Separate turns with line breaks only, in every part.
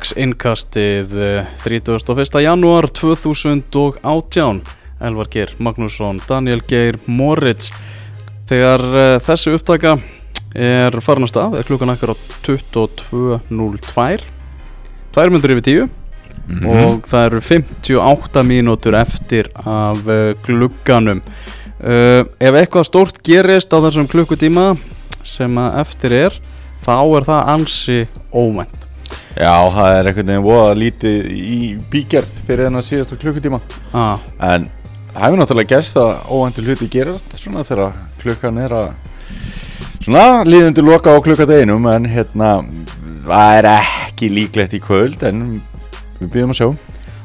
Gluggadags-innkastið eh, 31. janúar 2018 Elvar Geir Magnússon, Daniel Geir Moritz Þegar eh, þessi upptaka er farin að stað er klukkan akkar á 22.02 Tvær myndur yfir tíu
Mhm.
og það eru 58 mínútur eftir af eh, glugganum uh, ef eitthvað stórt gerist á þessum klukkutíma sem að eftir er þá er það ansi óvænt
Já, það er einhvern veginn voða lítið í bíkjart fyrir þennan síðasta klukkutíma
ah,
En það hefur náttúrulega gerst að óvænti hluti gerast svona þegar klukkan er að svona líðundi loka á klukkadeginum en hérna það er ekki líklegt í kvöld en við býðum að sjá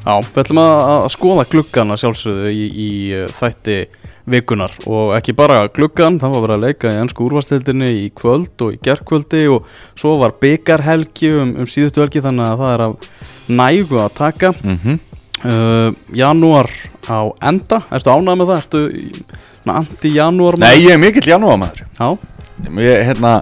Já, við ætlum að, að skoða gluggana sjálfsögðu í, í eh, þætti vikunar og ekki bara gluggan, það var verið að leika í ennsku úrvastildinni í kvöld og í gerkvöldi og svo var byggarhelgi um, um síðustu helgi þannig að það er af nægu að taka
mm -hmm.
uh, Janúar á enda, ertu ánægð með það? Ertu í- svona anti-janúar
Nei, ég er mikill janúarmaður
Já,
ég, hérna,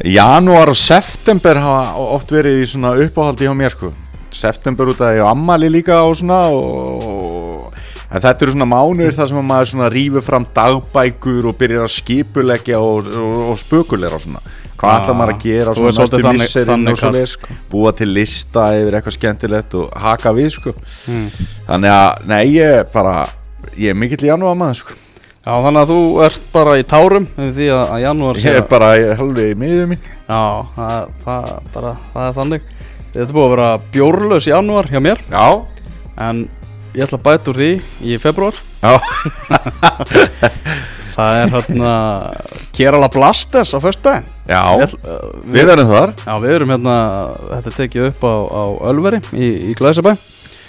Janúar og september hafa oft verið í svona uppáhaldi hjá mér sko September út að ég á ammali líka og svona og, En þetta eru svona mánuðir þar sem að maður svona rýfur fram dagbækur og byrjar að skipuleggja og, og, og spökulegra og svona Hvað
Ah,
ætlar maður að gera
þú
svona
ert svolítið þannig-
misserin
þannig
og svoleiðis,
kall, sko.
Búa til lista yfir eitthvað skemmtilegt og haka við sko
Mm.
Þannig að, nei, ég er bara, ég er mikill janúar maður sko
Já, þannig að þú ert bara í tárum yfir því að, að janúar sé
Ég er
að-
bara ég er alveg í miðum mín
Já, það, það, bara, það er þannig Þetta er búið að vera bjórlaus janúar hjá mér
Já,
en ég ætla að bæta úr því í februar
já
Það er hérna Kerala Blasters á föstudaginn Ég
Já,
ætla- uh,
við verðum þar
Já, við erum hérna, þetta er tekið upp á, á Ölveri í, í Glæsabæ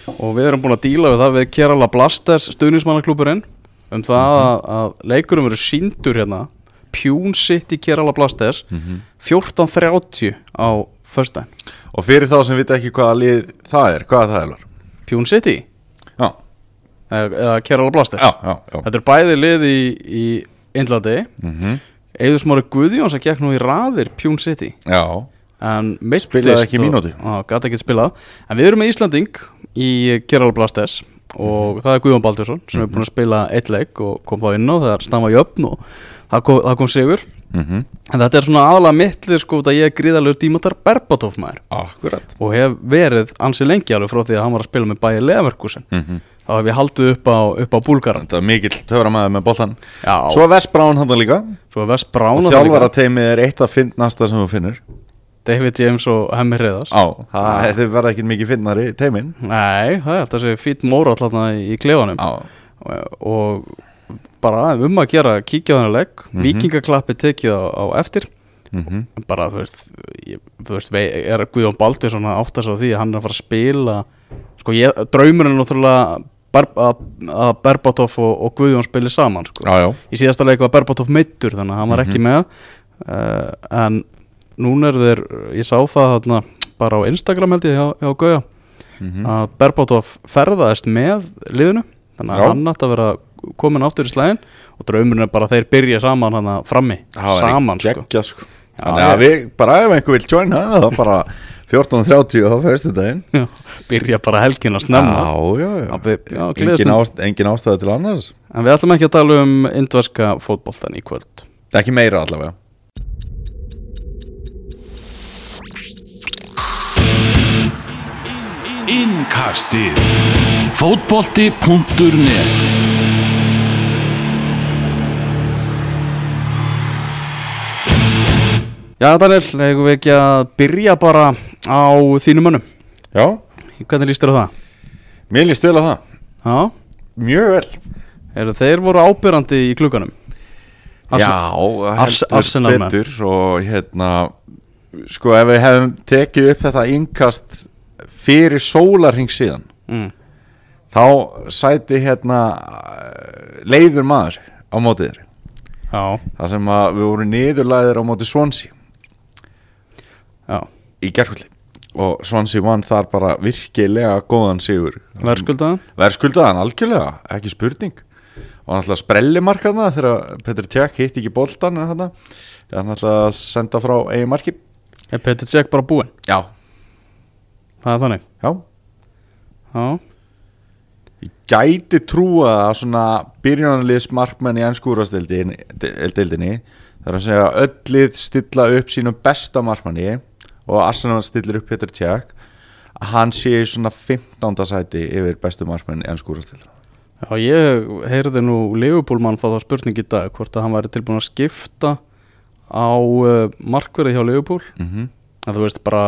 og við erum búin að díla við það við Kerala Blasters stuðnismannaklúburinn um það að,
Mhm.
að leikurum eru síndur hérna Pune City Kerala Blasters
Mhm.
14.30 á föstudaginn
Og fyrir þá sem vita ekki hvaða lið það er, hvaða það er Lár?
Pune City
Já,
eða, eða Kerala Blasters
já, já, já.
Þetta er bæði lið í, í Indlandi
Mhm.
Eður smári Guðjóns að gekk nú í raðir Pune City
já.
en meittist
Spilaði ekki mínútu.
og gæti ekki spilað en við erum með Íslanding í Kerala Blast S og
Mhm.
það er Guðjón Baldursson sem er búin að spila eitt leik og kom þá inn á þegar stamma jöfn og það kom, það kom sigur
Mm
en þetta er svona aðalega mittlir sko út að ég er gríðalegur dímatar Berbatov maður
Akkurat
og hef verið ansi lengi alveg frá því að hann var að spila með bæði Leverkusen
mm -hmm.
þá hef ég haldið upp á, upp á búlgaran
Þetta er mikill töframæður með boltan
Já,
Svo er Vestbrán hann líka
svo er Vest Brown að
Og
það
þjálfara
líka.
teimið er eitt af fyndnasta sem þú finnur
David James og Hemmi Ah. Hreðars
Á, það þau verða ekki mikið fyndnari teimin
Nei, það er þetta sé fýtt móra alltaf í klefanum
Á,
og bara um að gera kíkja á þennan legg, mm vikingaklappi tekið á, á eftir
mm -hmm.
bara þú veist, ég, þú veist vei- er Guðjón Baldur svona átt að sá því að hann er að fara að spila sko ég, draumurinn er náttúrulega Ber- að að Berbatov og, og Guðjón spili saman sko.
Já, já
í síðasta leik var Berbatov meittur þannig að hann var ekki með uh, en núna eru þeir ég sá það þarna bara á Instagram held ég hjá, hjá Guðjón
mm
að Berbatov ferðaðist með liðinu þannig að
Já.
hann ætti að vera komin áttur í slæðin og draumurinn er bara að þeir byrja saman hann frammi, saman sko
geggja, sko.
Já,
Þannig að við, bara ef einhver vil joina það er bara 14.30 á fyrstu daginn
byrja bara helgin að snemma
Já, já, já
Já, við, já,
Engin,
engin
ást, engin ástæða til annars
en við ætlum ekki að tala um indverska fótboltan í kvöld
Ekki meira allavega
Innkastið Fótbolti.net
Já Daniel, hefur við ekki að byrja bara á þínum mönnum
Já,
hvernig lístur það?
mér líst vel á það
Já,
Mjög vel
eru þeir voru ábyrrandi í klukkanum
Já,
Ars-
heldur
Arsenal menn.
betur og hérna sko ef við hefum tekið upp þetta innkast fyrir sólarhing síðan
mm.
þá sæti hérna eh, leiður maður á mótið þér
Já,
þar sem að við vorum niðurlæðir á móti Swansea
já,
í gerkvöldi og Swansea vann þar bara virkilega góðan sigur
verðskuldaðan
verðskuldaðan algjörlega, ekki spurning og náttúrulega sprellimarkaðna þegar Petr Tjekk hitt ekki boltan en þarna, þegar hann náttúrulega senda frá eigin marki
Er Petr Cech bara búinn?
Já
það er þannig
Já,
Já,
ég gæti trúa að svona byrjunarliðs markmenn í ennskúrastildinni það er að segja að öll lið stilla upp sínum besta markmanni og Arsenal stillir upp Petr Tjekk að hann sé í svona 15. sæti yfir bestu markmenn í ennskúrastildinni
Já, ég heyrði nú Leopoldmann fá þá spurning í dag hvort að hann væri tilbúin að skipta á uh, markverði hjá Leopold
mm -hmm,
að þú veist bara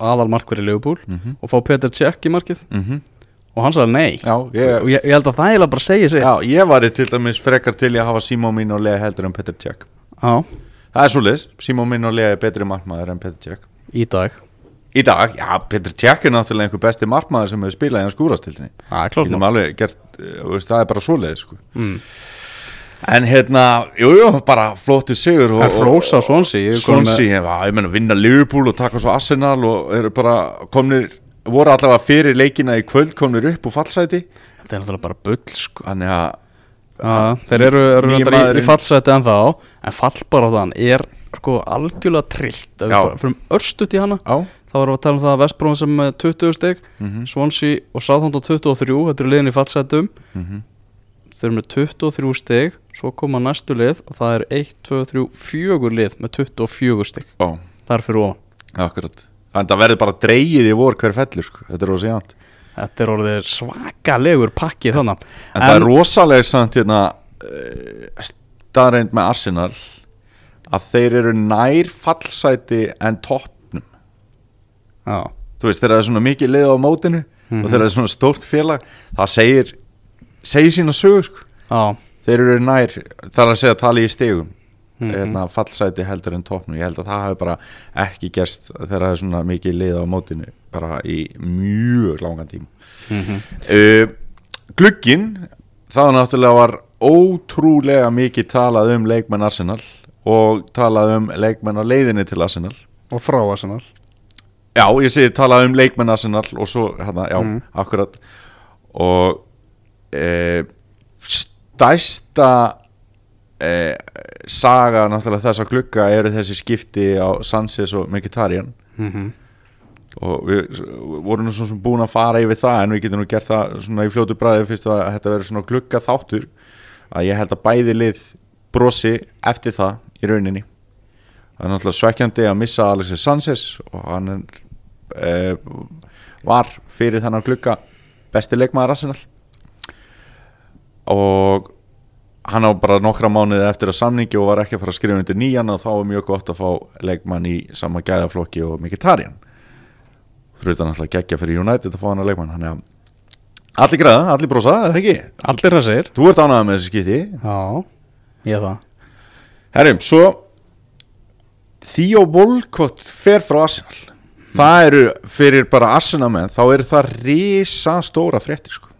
aðal markverði Leopold
mm -hmm,
og fá Peter Cech í markið
mm
og hann sagði nei
Já,
og
ég,
ég, ég held að það eiginlega bara segi sig
já, ég var til dæmis frekar til í að hafa Simón mín og Lea heldur en Petr Tjekk
já,
Það er svoleiðis, Simón mín og Lea er betri markmaður en Petr Tjekk
í dag
Í dag, já, Petr Tjekk er náttúrulega einhver besti markmaður sem hefur spilað í hans skúrastildinni
það er
Ég
klart
nefnum
mál
alveg gert, eh, þú veist, það er bara svoleiðis sko.
mm.
En hérna, jú, jú, bara flottir sigur og-
en Rosa Svonsi
og Svonsi, ég, ég menna, vinna Liverpool og taka svo Arsenal og eru bara komnir, voru allavega fyrir leikina í kvöld komnir upp úr fallsæti
þetta er náttúrulega bara bull sko
Þannig að,
Já, þeir eru, eru
Nýi
reyndar í, í
maðurinn.
fallseti en þá en fallbarátan er sko algjörlega trillt ef við
Já.
bara fyrir um örstut í hana
á,
þá erum við að tala um það að Vestbróðum sem er með 20 steg
Mhm.
Swansea og Southampton 23 þetta eru liðin í fallsetum
Mhm.
þeir eru með 23 steg svo koma næstu lið og það er 1, 2, 3, 4 lið með 24 steg
á,
það er fyrir ofan
akkurat Þannig að það verður bara dreigið í vor hver fellur, sko, þetta er rosa jænt
þetta er orðið svakalegur pakki þannig
En, það er rosalega samt hérna uh, staðreind með Arsenal að þeir eru nær fallsæti en toppnum
já,
þú veist þegar það er svona mikið lið á mótinu og þegar það er svona stórt félag það segir, segir sína sögur sko.
já,
þeir eru nær, það er að segja tali í stegum mm
Mhm.
hérna, fallsæti heldur en toppnum ég held að það hafi bara ekki gerst þegar það er svona mikið lið á mótinu bara í mjög langan tíma
mhm,
uh, glugginn það náttúrulega var ótrúlega mikið talað um leikmenn Arsenal og talað um leikmenn á leiðinni til Arsenal
og frá Arsenal
Já, ég segi talað um leikmenn Arsenal og svo, hérna, já,
Mm.
akkurat og e, stæsta e, saga náttúrulega þessa glugga eru þessi skipti á Sanchez og Mkhitaryan
mhm,
og við s- vorum nú svona sem búin að fara yfir það en við getum nú gert það svona í fljótu bræði fyrst að þetta verður svona glugga þáttur að ég held að bæði lið brosi eftir það í rauninni það er náttúrulega svekkjandi að missa Alexis Sanchez og hann er, e, var fyrir þennan glugga besti leikmaður Arsenal og hann á bara nokkra mánuði eftir að samningi og var ekki að fara að skrifa undir nýjan og þá var mjög gott að fá leikmann í sama gæðaflokki og Mkhitaryan fyrir utan alltaf geggja fyrir United að fá hann að leikmann hann er að allir græða, allir brosa, eða ekki
allir það segir
þú ert ánægð með þessi skipti
já, ég það
herrum, svo Theo Volkott fer frá Arsenal það eru fyrir bara Arsenal menn þá eru það risa stóra fréttir sko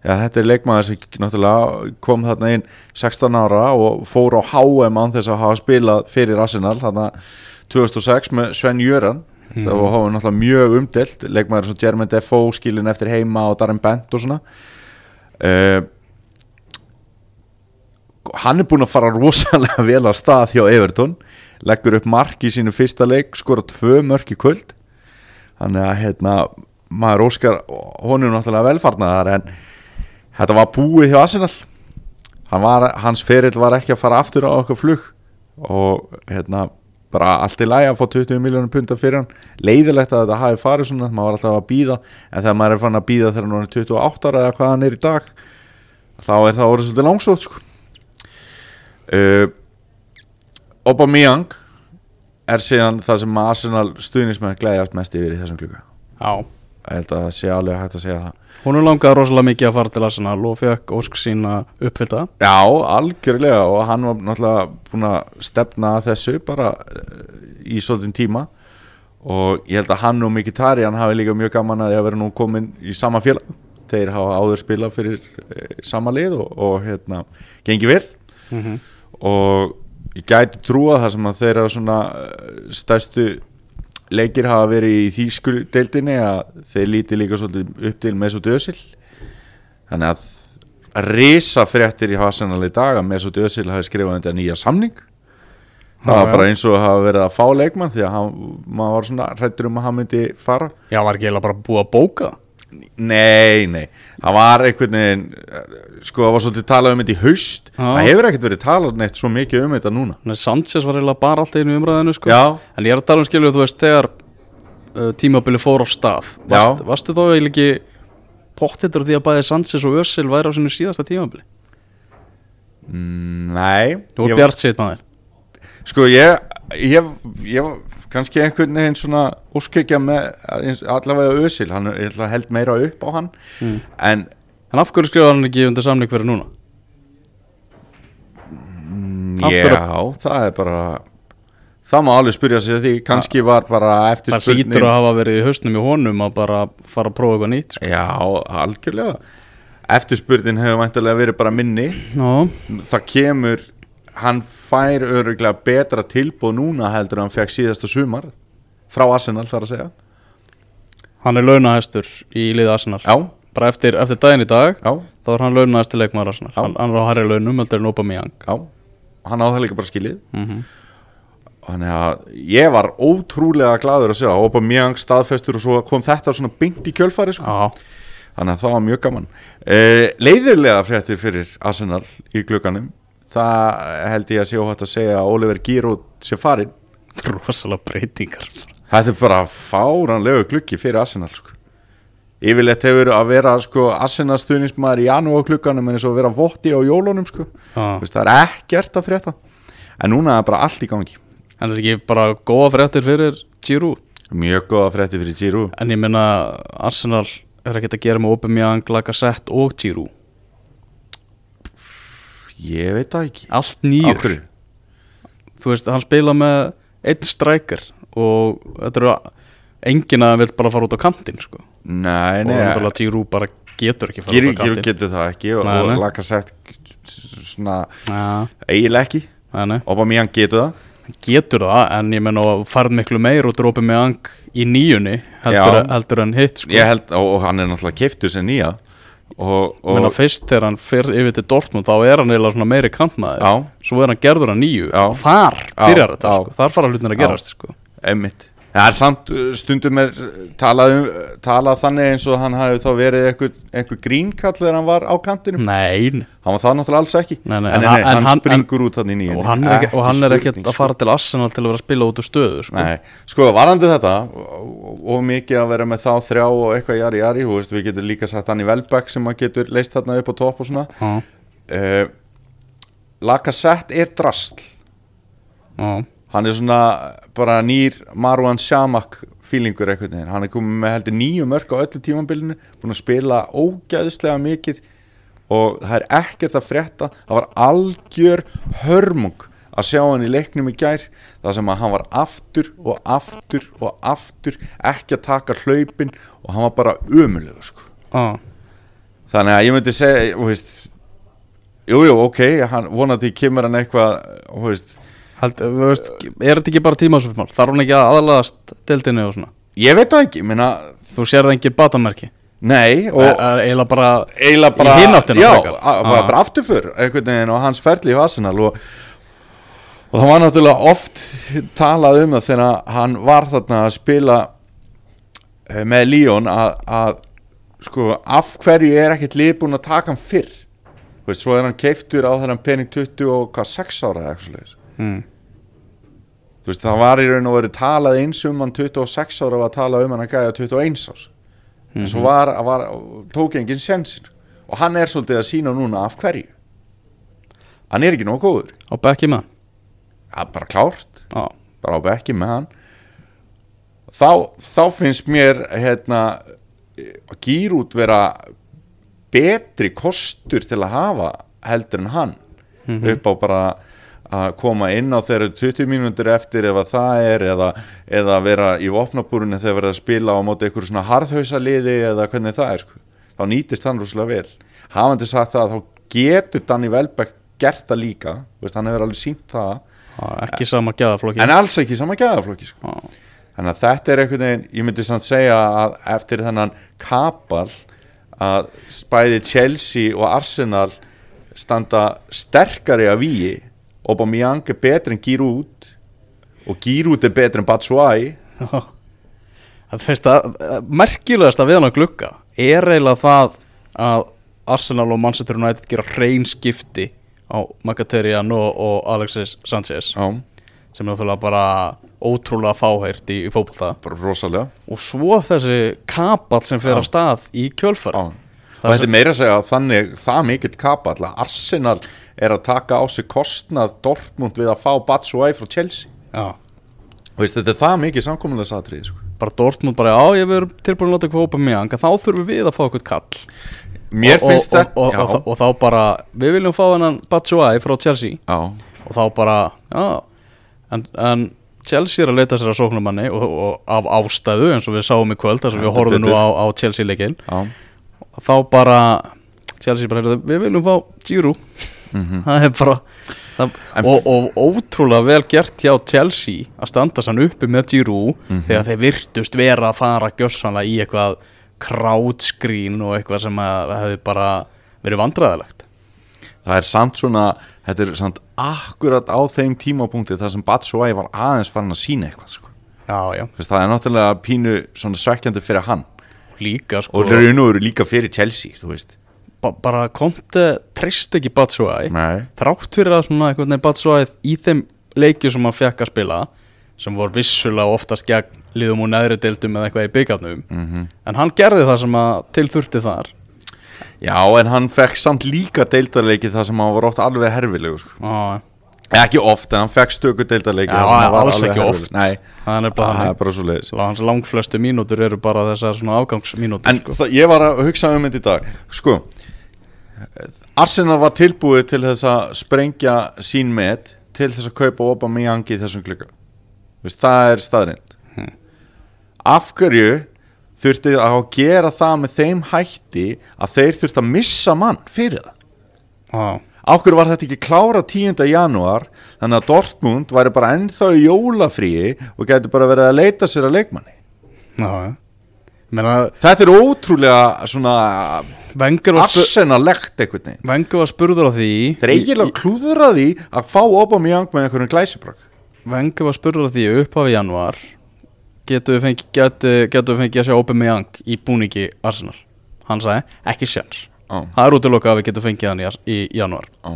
Já, þetta er leikmaður sem náttúrulega kom þarna inn 16 ára og fór á HM án þess að hafa spilað fyrir Arsenal þarna 2006 með Sven Jöran það var HM náttúrulega mjög umdelt leikmaður sem Jermaine Defoe skilin eftir heima og Darren Bent og svona uh, hann er búinn að fara rosalega vel að stað hjá Everton leggur upp mark í sínu fyrsta leik skora tvö mörk í kvöld þannig að hérna maður óskar honum náttúrulega velfarnar en þetta var búið hjá Arsenal hann var, hans ferill var ekki að fara aftur á okkar flug og hérna bara allt í lagi að fá 20 miljónum punta fyrir hann leiðilegt að þetta hafi farið svona maður var alltaf að býða en þegar maður er fann að býða þegar hann er 28 ára eða hvað hann er í dag þá er það orðið svolítið langsótt sko uh, Aubameyang er síðan það sem Arsenal stuðnismenn glæðast mest yfir í þessum klukka
já,
ég held að það sé alveg hægt að segja það
hún langaði rosalega mikið að fara til Arsenal og fekk ósk sína uppfyllta
Já, algjörlega og hann var náttúrulega búin að stefna að þessu bara eh, í svolítinn tíma og ég held að hann og Mkhitaryan hafi líka mjög gaman að því að vera nú komin í sama félag þeir hafa áður spilað fyrir e, sama lið og, og hérna, gengi vel
Mhm.
og ég gæti trúa það sem að þeirra svona eh, stærstu leikir hafa verið í þýsku deildinni að þeir líti líka svolítið upp til með svo döðsill þannig að risa fréttir í Hasanal í dag að Mesut Özil hafi skrifað þetta nýja samning það
Já,
var bara
já.
eins og að hafa verið að fá leikmann því að hann, maður var svona hrættur um að hann myndi fara
Já, var ekki eiginlega bara búið að bóka það?
nei, nei, það var einhvern veginn eh, sko það var svolítið talað um þetta í haust
Já.
það hefur ekkert verið talað neitt svo mikið um þetta núna
Þannig að Sanchez var eiginlega bara alltaf einu umræðinu sko.
Já.
En ég er að tala um skilur, þú veist, þegar uh, tímabili fór á stað varst,
Já.
Varstu þá eiginlega ekki pottitur því að bæði Sanchez og Össil væri á sinu síðasta tímabili?
nei,
Þú var
ég-
bjart sitt maður
Sko ég, ég, ég kannski einhvern veginn svona óskikja með eins- allavega Özil, hann er ætla, held meira upp á hann
Mm.
en
En af hverju skrifaði hann ekki undir samning fyrir núna? Af hverju-
já, það er bara það má alveg spyrja sig að því kannski var bara eftir
Það hlýtur að hafa verið í hausnum í honum að bara fara að prófa eitthvað nýtt sko.
Já, algjörlega Eftirspurnin hefur væntalega verið bara minni
Já,
það kemur hann fær öruglega betra tilbúð núna heldur en hann fekk síðasta sumar frá Arsenal þar að segja
hann er launahæstur í liða Arsenal
Já,
Bara eftir, eftir daginn í dag
já,
þá er hann launahæstur leikmaður Arsenal
Já.
hann, hann er á harri launum, heldur en Aubameyang
já hann á það líka bara skilið
mm -hmm.
Þannig að ég var ótrúlega gladur að sjá Opa mjög staðfestur og svo kom þetta svona beint í kjölfari sko.
Já,
Þannig að það var mjög gaman uh, Leiðirlega fréttir fyrir Arsenal í glugganum Það held ég að sé óhætt að segja að Oliver Giroud sé farinn
þetta er rosalega breytingar
Þetta er bara fáranlegu gluggi fyrir Arsenal sko. Yfirleitt hefur að vera sko, Arsenal stuðnismæður í janúar glugganum en eins og að vera votti á jólunum sko.
Já.
Þú veist, Það er ekkert að frétta En núna er bara allt í gangi
En þetta er ekki bara góða fréttir fyrir Giroud
Mjög góða frétti fyrir Giroud
En ég minna Arsenal er ekkert að gera með Aubameyang, Lacazette og Giroud
Ég veit það ekki
Allt
Á
nýjur
hverju?
Þú veist, hann spila með einn strækir og þetta eru enginn að hann vil bara fara út á kantinn sko.
Nei,
og
nei
náttúrulega Giroud bara getur ekki fara
Gýru
út á kantinn
getur það ekki og,
Nei, nei.
og Lacazette svona
Já,
eiginlega ekki
nei, nei.
Aubameyang getur það
Hann getur það en ég menna að farð miklu meir og drópi með ang í nýjunni heldur,
Já.
heldur en hitt sko.
Ég held, og, og hann er náttúrulega keiftur sem nýja og,
Ég meina
og
fyrst þegar hann fyrir yfir til Dortmund þá er hann eiginlega svona meiri kantmaður
Já.
svo er hann gerður að nýju
Já.
þar
Já,
byrjar þetta,
já.
sko. þar fara hlutin að
Já.
gerast sko.
emmitt Það er samt uh, stundum er uh, talað, um, talað þannig eins og hann hafi þá verið einhver, einhver grínkall þegar hann var á kantinum
Nein
Hann var það náttúrulega alls ekki
Hmm. Nei, nei,
en,
en
nei,
hann- en
hann,
hann-
springur út þannig nýjum
og hann er, ekki, og hann er ekkert að fara til Arsenal til að vera að spila út úr stöðu sko.
sko. Nei, sko, varandi þetta og, og mikið að vera með þá þrjá og eitthvað jari jari, þú veist, við getum líka sett hann í Velbeck sem að getur leist þarna upp á topp og svona
Já,
uh, Lacazette er drastl
já.
hann er svona bara nýr Marwan Shamak feelingur eitthvað neginn. hann er komið með heldur nýju mörg á öllu tímambilinu búin að spila ógæðislega mikið og það er ekkert að frétta það var algjör hörmung að sjá hann í leiknum í gær þar sem að hann var aftur og aftur og aftur ekki að taka hlaupin og hann var bara umulegu sko.
Já.
þannig að ég myndi segja þú veist, jú, jú, ok hann, vonandi kemur hann eitthvað þú veist,
Held, eh, þú veist, er þetta ekki bara tímasöfumál þarf hann ekki að aðalaðast deildinu og svona
ég veit það ekki, ég meina
þú sér það engin batamerki
Nei, og
Það er eiginlega bara
eiginlega bara
í hináttina
já,
frekar.
a- bara,
Ah.
bara afturför einhvern veginn og hans ferli í Arsenal og, og það var náttúrulega oft talað um það þegar hann var þarna að spila eh, með Leon að, að sko, af hverju er ekkert lið búin að taka hann fyrr Þú veist, svo er hann keiftur á þennan pening 20 og hvað 6 ára eða eitthvað svoleiðis.
Mm.
Þú veist, það var í raun og veru talað eins um hann 26 ára og að tala um hann að gæja 21 árs en svo var, var, tók enginn sensin og hann er svolítið að sína núna af hverju hann er ekki nóg góður
á bekki með hann
það er bara klárt,
Já.
bara á bekki með hann þá, þá finnst mér hérna gýrút vera betri kostur til að hafa heldur en hann upp á bara að koma inn á þeirra 20 mínútur eftir ef að það er eða, eða vera í vopnabúrunni þegar verið að spila á móti einhverju svona harðhausaliði eða hvernig það er sko. þá nýtist hann rúslega vel hafandi sagt það að þá getur Danny Welbeck gert það líka, Þú veist, hann hefur alveg sínt það
Já, ekki sama gæðaflokki
en alls ekki í sama gæðaflokki sko.
Já.
Þannig að þetta er einhvern veginn, ég myndi samt segja að eftir þennan kapal að bæði Chelsea og Arsenal standa sterkari að víi Aubameyang er betri en Giroud og Giroud er betri en Batshuayi
Það finnst að merkilegast að við hann að glugga er eiginlega það að Arsenal og Manchester United gera hrein skipti á Mkhitaryan og, og Alexis Sanchez
Já,
sem er náttúrulega bara ótrúlega fáhært í, í fótbolta
bara rosalega
og svo þessi kapall sem fer
Já.
af stað í kjölfar
Já. Og
Það
þetta
sem-
er meira að segja að þannig það mikill kapa alltaf Arsenal er að taka á sig kostnað Dortmund við að fá Batshuayi frá Chelsea
Já.
Þú veist, þetta er það mikið samkomulega satrið sko.
bara Dortmund bara, já ég verður tilbúin að láta eitthvað ópa mig þá þurfum við að fá eitthvað kall
Mér
og, og,
finnst þetta
og, og, og, og þá bara, við viljum fá hennan Batshuayi frá Chelsea
já,
og þá bara, já en, en Chelsea er að leita sér að sóknumanni og, og af ástæðu eins og við sáum í kvöld þar sem við
Heldur
horfum nú
betur.
á, á Chelsea leikinn
já,
þá bara, Chelsea bara heyrðu, við viljum fá Giroud það er bara það,
Mhm. En-
og, og ótrúlega vel gert hjá Chelsea að standa sann uppi með Giroud
Mhm.
þegar þeir virtust vera að fara gjössanlega í eitthvað crowdscreen og eitthvað sem að hefði bara verið vandræðilegt
það er samt svona þetta er samt akkurat á þeim tímapunkti þar sem Batshuayi var aðeins farin að sína eitthvað sko.
já, já,
Þú veist, það er náttúrulega pínu svona svekkjandi fyrir hann
líka sko
og það eru nú eru líka fyrir Chelsea þú veist
ba bara Conte treyst ekki Batshuayi
Nei.
þrátt fyrir að svona einhvern veginn Batshuayi í þeim leikju sem hann fekk að spila sem voru vissulega oftast gegn liðum og neðri deildum eða eitthvað í byggarnum
Mhm.
-hmm. en hann gerði það sem að til þurfti þar
Já, en hann fekk samt líka deildarleiki þar sem hann var oft alveg herfilegu sko.
Á,
Ekki oft, en hann fekk stöku deildarleiki
já,
þar sem hann var
alls
alveg
ekki
herfilegur.
oft
Nei,
það er nefnilega
það er
hann
bara svo leiðis
Svo hans langflestu mínútur eru bara þessar svona afgangsmínútur
En
sko.
það, ég var að hugsa um þetta í dag Sko Arsenal var tilbúið til þess að sprengja sín met til þess að kaupa opa mig angi í þessum klukka Veist, Það er staðrind Af hverju þurfti að gera það með þeim hætti að þeir þurfti að missa mann fyrir það
Á,
Áhverju var þetta ekki klára 10. janúar þannig að Dortmund væri bara ennþá í jólafríi og gæti bara verið að leita sér að leikmanni.
já, já Menna,
Þetta er ótrúlega svona
Wenger var, spu
arsenalegt einhvern veginn.
Wenger var spurður á því
Þeir
í-
eiginlega klúðra því að fá Aubameyang með einhverjum glæsibrak.
Vengi var spurður að því í upphafi januar getur við fengið getu, getu fengi að sjá Aubameyang í búningi Arsenal hann sagði ekki sjans
Á.
það er útilokað að við getum fengið hann í, Ars- í januar
Á.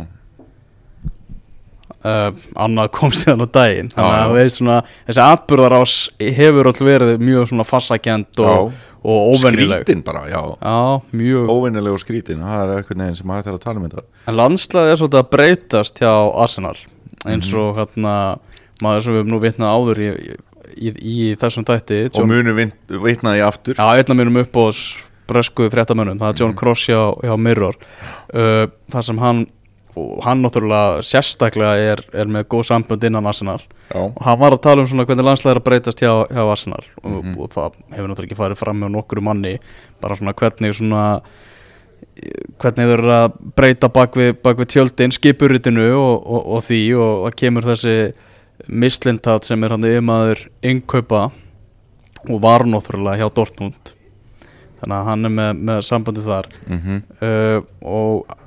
uh, annað komst þið hann á daginn þannig
já.
að við svona, þessi atbyrðarás hefur all verið mjög svona fassakend og, og óvennileg
Skrítin bara, já.
Já, mjög
Óvennileg og skrítin, það er einhvern veginn sem hægt er að tala um þetta.
En landslæði er svolítið að breytast hjá Arsenal eins
Mhm.
og hérna maður sem við höfum nú vitnað áður í, í, í, í þessum þætti
Og
John
munum vitnaði aftur.
Já, einn af mínum uppbóðs bresku fréttamönnum, það er John Cross hjá, hjá Mirror uh, þar sem hann og hann náttúrulega sérstaklega er, er með góð sambönd innan Arsenal
Já.
og hann var að tala um svona hvernig landslæðir að breytast hjá, hjá Arsenal og, og það hefur náttúrulega ekki farið fram með nokkru manni bara svona hvernig svona eh, hvernig þau eru að breyta bak við, bak við tjöldin, skipuritinu og, og, og því og það kemur þessi mislintat sem er hann yfirmaður innkaupa og var náttúrulega hjá Dortmund þannig að hann er með, með sambandi þar
Mhm.
uh, og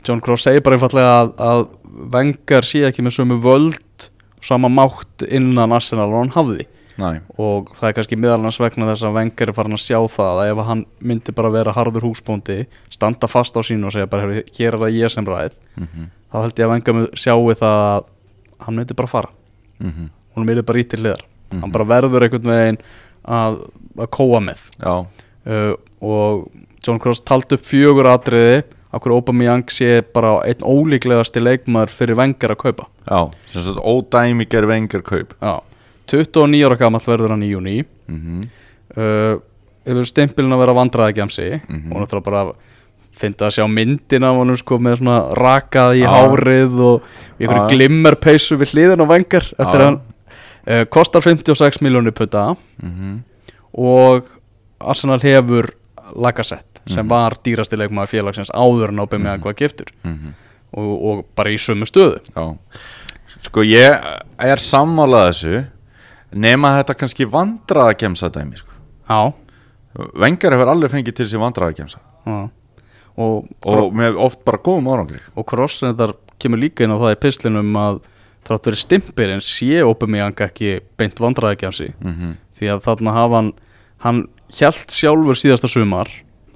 John Cross segir bara einfallega að, að vengar sé ekki með sömu völd og sama mátt innan Arsenal og hann hafði
Næ.
og það er kannski meðalans vegna þess að vengar er farin að sjá það að ef hann myndi bara vera harður húsbóndi standa fast á sínu og segja bara "Heyrðu, hér er það ég sem ræð
Mhm.
þá held ég að vengar sjáu það að hann myndi bara fara
Mhm.
hún myndi bara ít til hliðar hann bara verður einhvern veginn að, að kóa með
Já.
uh, og John Cross taldi upp fjögur atriði af hverju Aubameyang sé bara einn ólíklegasti leikmaður fyrir vengar að kaupa
Já, sem sagt ódæmiger vengar kaup
Já. 29 ára gamall verður hann í júni
mm
uh, hefur stimpilin að vera vandræðagjamsi mm
Mhm.
-hmm. og náttúrulega bara fyndi að sjá myndina af honum sko með svona rakað í
Já.
hárið og í einhverju
Já.
glimmerpeysu við hliðin á vengar eftir
Já.
að hann uh, kostar 56 miljónir putta
mm -hmm.
og Arsenal hefur Lacazette sem var dýrasti leikmaður félagsins áður en Aubameyang var giftur og, og bara í sömu stöðu
Já Sko ég er sammálað þessu nema þetta kannski vandraðakemsa dæmi sko.
Já,
Vengar hefur alveg fengið til sér vandraðakemsa
já. Og,
og með oft bara góðum árangri
og Kross reyndar kemur líka inn á það í pislinum að þrátt verið stimpir en sé Aubameyang ekki beint vandræðagjafsi
mm -hmm.
því að þarna hafa hann hann hjælt sjálfur síðasta sumar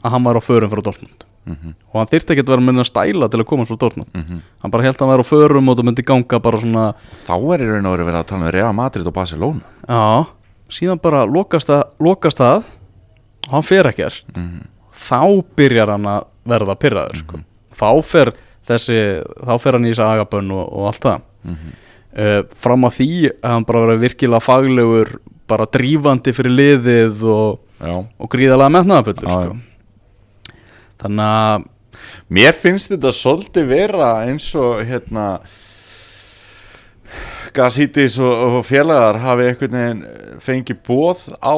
að hann var á förum frá Dortmund
mhm.
og hann þyrfti ekki að vera með að stæla til að komast frá Dortmund hann bara hjælt að hann væri á förum og það myndi ganga bara svona
Þá er í raun og verið verið að tala um Real Madrid og Barcelona
Já, síðan bara lokast það, lokast það og hann fer ekkert
Mhm.
þá byrjar hann að verða pyrraður sko. þá fer þessi, þá fer hann í þessi agabönn og, og allt það
Mhm.
uh, fram að því að hann bara verið virkilega faglegur bara drífandi fyrir liðið og,
Já.
og gríðalega metnaðafullur
Já, já.
sko. þannig að
Mér finnst þetta svolítið vera eins og hérna Gazítis og, og félagar hafi einhvern veginn fengið bóð á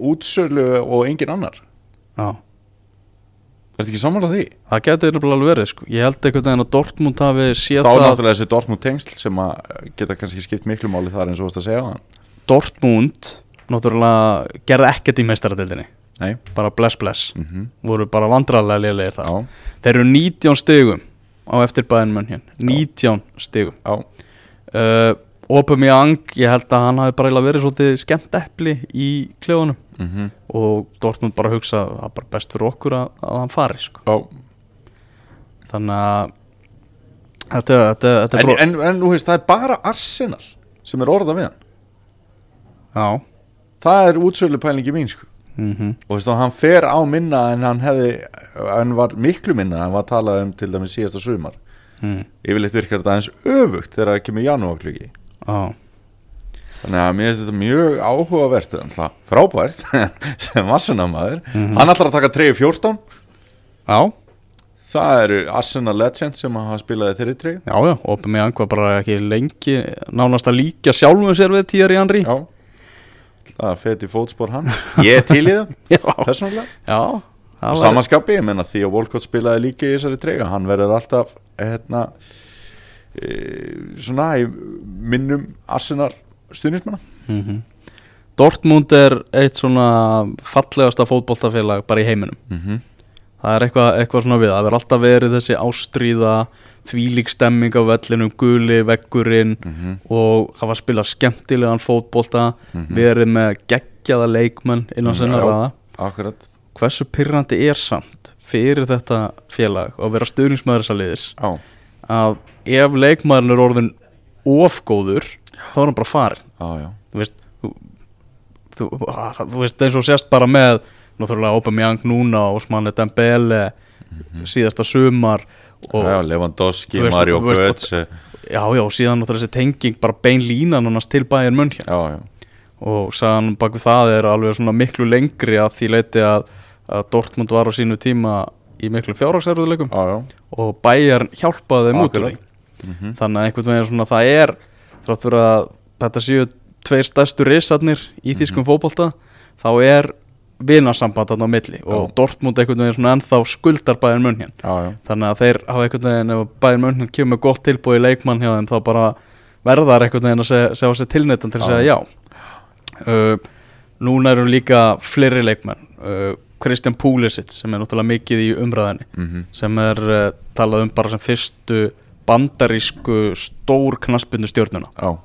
útsölu og engin annar
já,
Það er ekki samanlega því
það getur alveg verið sko. ég held einhvern veginn að Dortmund hafi séð
Þá er
það
náttúrulega þessi Dortmund tengsl sem að geta kannski skipt miklu máli þar eins og þú varst að segja á hann
Dortmund náttúrulega gerði ekkert í meistaradeildinni
Nei,
bara bless bless
mm -hmm.
voru bara vandrarlega liðlegir það
já,
þeir eru 19 stigum á eftir bæðin mönn hér 19 stigum
já
uh, Opum í Ang, ég held að hann hafi bara eiginlega verið svolítið skemmt epli í klefunum
mm
og Dortmund bara hugsa að það er bara best fyrir okkur að, að hann fari sko.
Já,
þannig að þetta, þetta, þetta er
en,
bró-
en, en þú veist, það er bara Arsenal sem er orða við hann
já,
Það er útsölu pælingi mín sko
mm
Og veist, og hann fer á minna en hann hefði Hann var miklu minna en var talað um til dæmis síðasta sumar
mm,
Yfirleitt virkar þetta aðeins öfugt þegar það kemur janúarklugi
já.
Þannig að mér finnst þetta mjög áhugavert alltaf frábært sem Arsenal-maður Hann ætlar að taka 3-14
já,
Það eru Arsenal Legend sem hafa spilaði þeirri 3
já, já Opum í Ang var bara ekki lengi nánast að líka sjálfum sér við Týri Andri
Já Það feti fótspor hann Ég er til í það,
já,
persónulega
já það væri-
Samanskapi, ég menna því að Volkott spilaði líka í þessari treyga Hann verður alltaf hérna, e, Svona í minnum Arsenal stuðnismanna
Dortmund er eitt svona fallegasta fótboltafélag bara í heiminum
Mhm.
það er eitthvað, eitthvað svona við það er alltaf verið þessi ástríða þvílík stemming á vellinum, guli veggurinn
mhm.
og hafa spilað skemmtilegan fótbolta verið með geggjaða leikmenn innan sinna
Já.
raða
Akkurat
hversu pyrrandi er samt fyrir þetta félag og vera stuðningsmaður þessa liðis
Já,
að ef leikmaðurinn er orðin ofgóður þá er hann bara farinn
já, já
þú veist þú, þú, á, það- þú veist eins og sérst bara með náttúrulega Aubameyang núna og Osmane Dembele síðasta sumar og
Mhm. Já,
já,
Lewandowski,
Þú veist-
Mario
þú veist-
Götze Já,
já, síðan náttúrulega þessi tenging bara bein línan annars til Bayern München
já,
og sagan bak við það er alveg svona miklu lengri að því leiti að, að Dortmund var á sínu tíma í miklu fjárhagsærðuleikum
já, já
og Bayern hjálpaði þeim út úr því
Akkurat. Mhm.
þannig að einhvern veginn svona það er þrátt fyrir að þetta séu tveir stærstu risarnir í þýskum fótbolta þá er vinarsamband þarna á milli og
Já.
Dortmund einhvern veginn svona ennþá skuldar Bayern München
Já, já,
þannig að þeir hafa einhvern veginn ef Bayern München kemur með gott tilbúið í leikmann hjá þeim þá bara verðar einhvern veginn að segja, segja á sig tilnættan til að
Já.
segja já uh, Núna eru líka fleiri leikmenn uh, Christian Pulisic sem er náttúrulega mikið í umræðinni
mhm,
sem er uh, talað um bara sem fyrstu bandarísku stór knaspindu stjórnuna
já,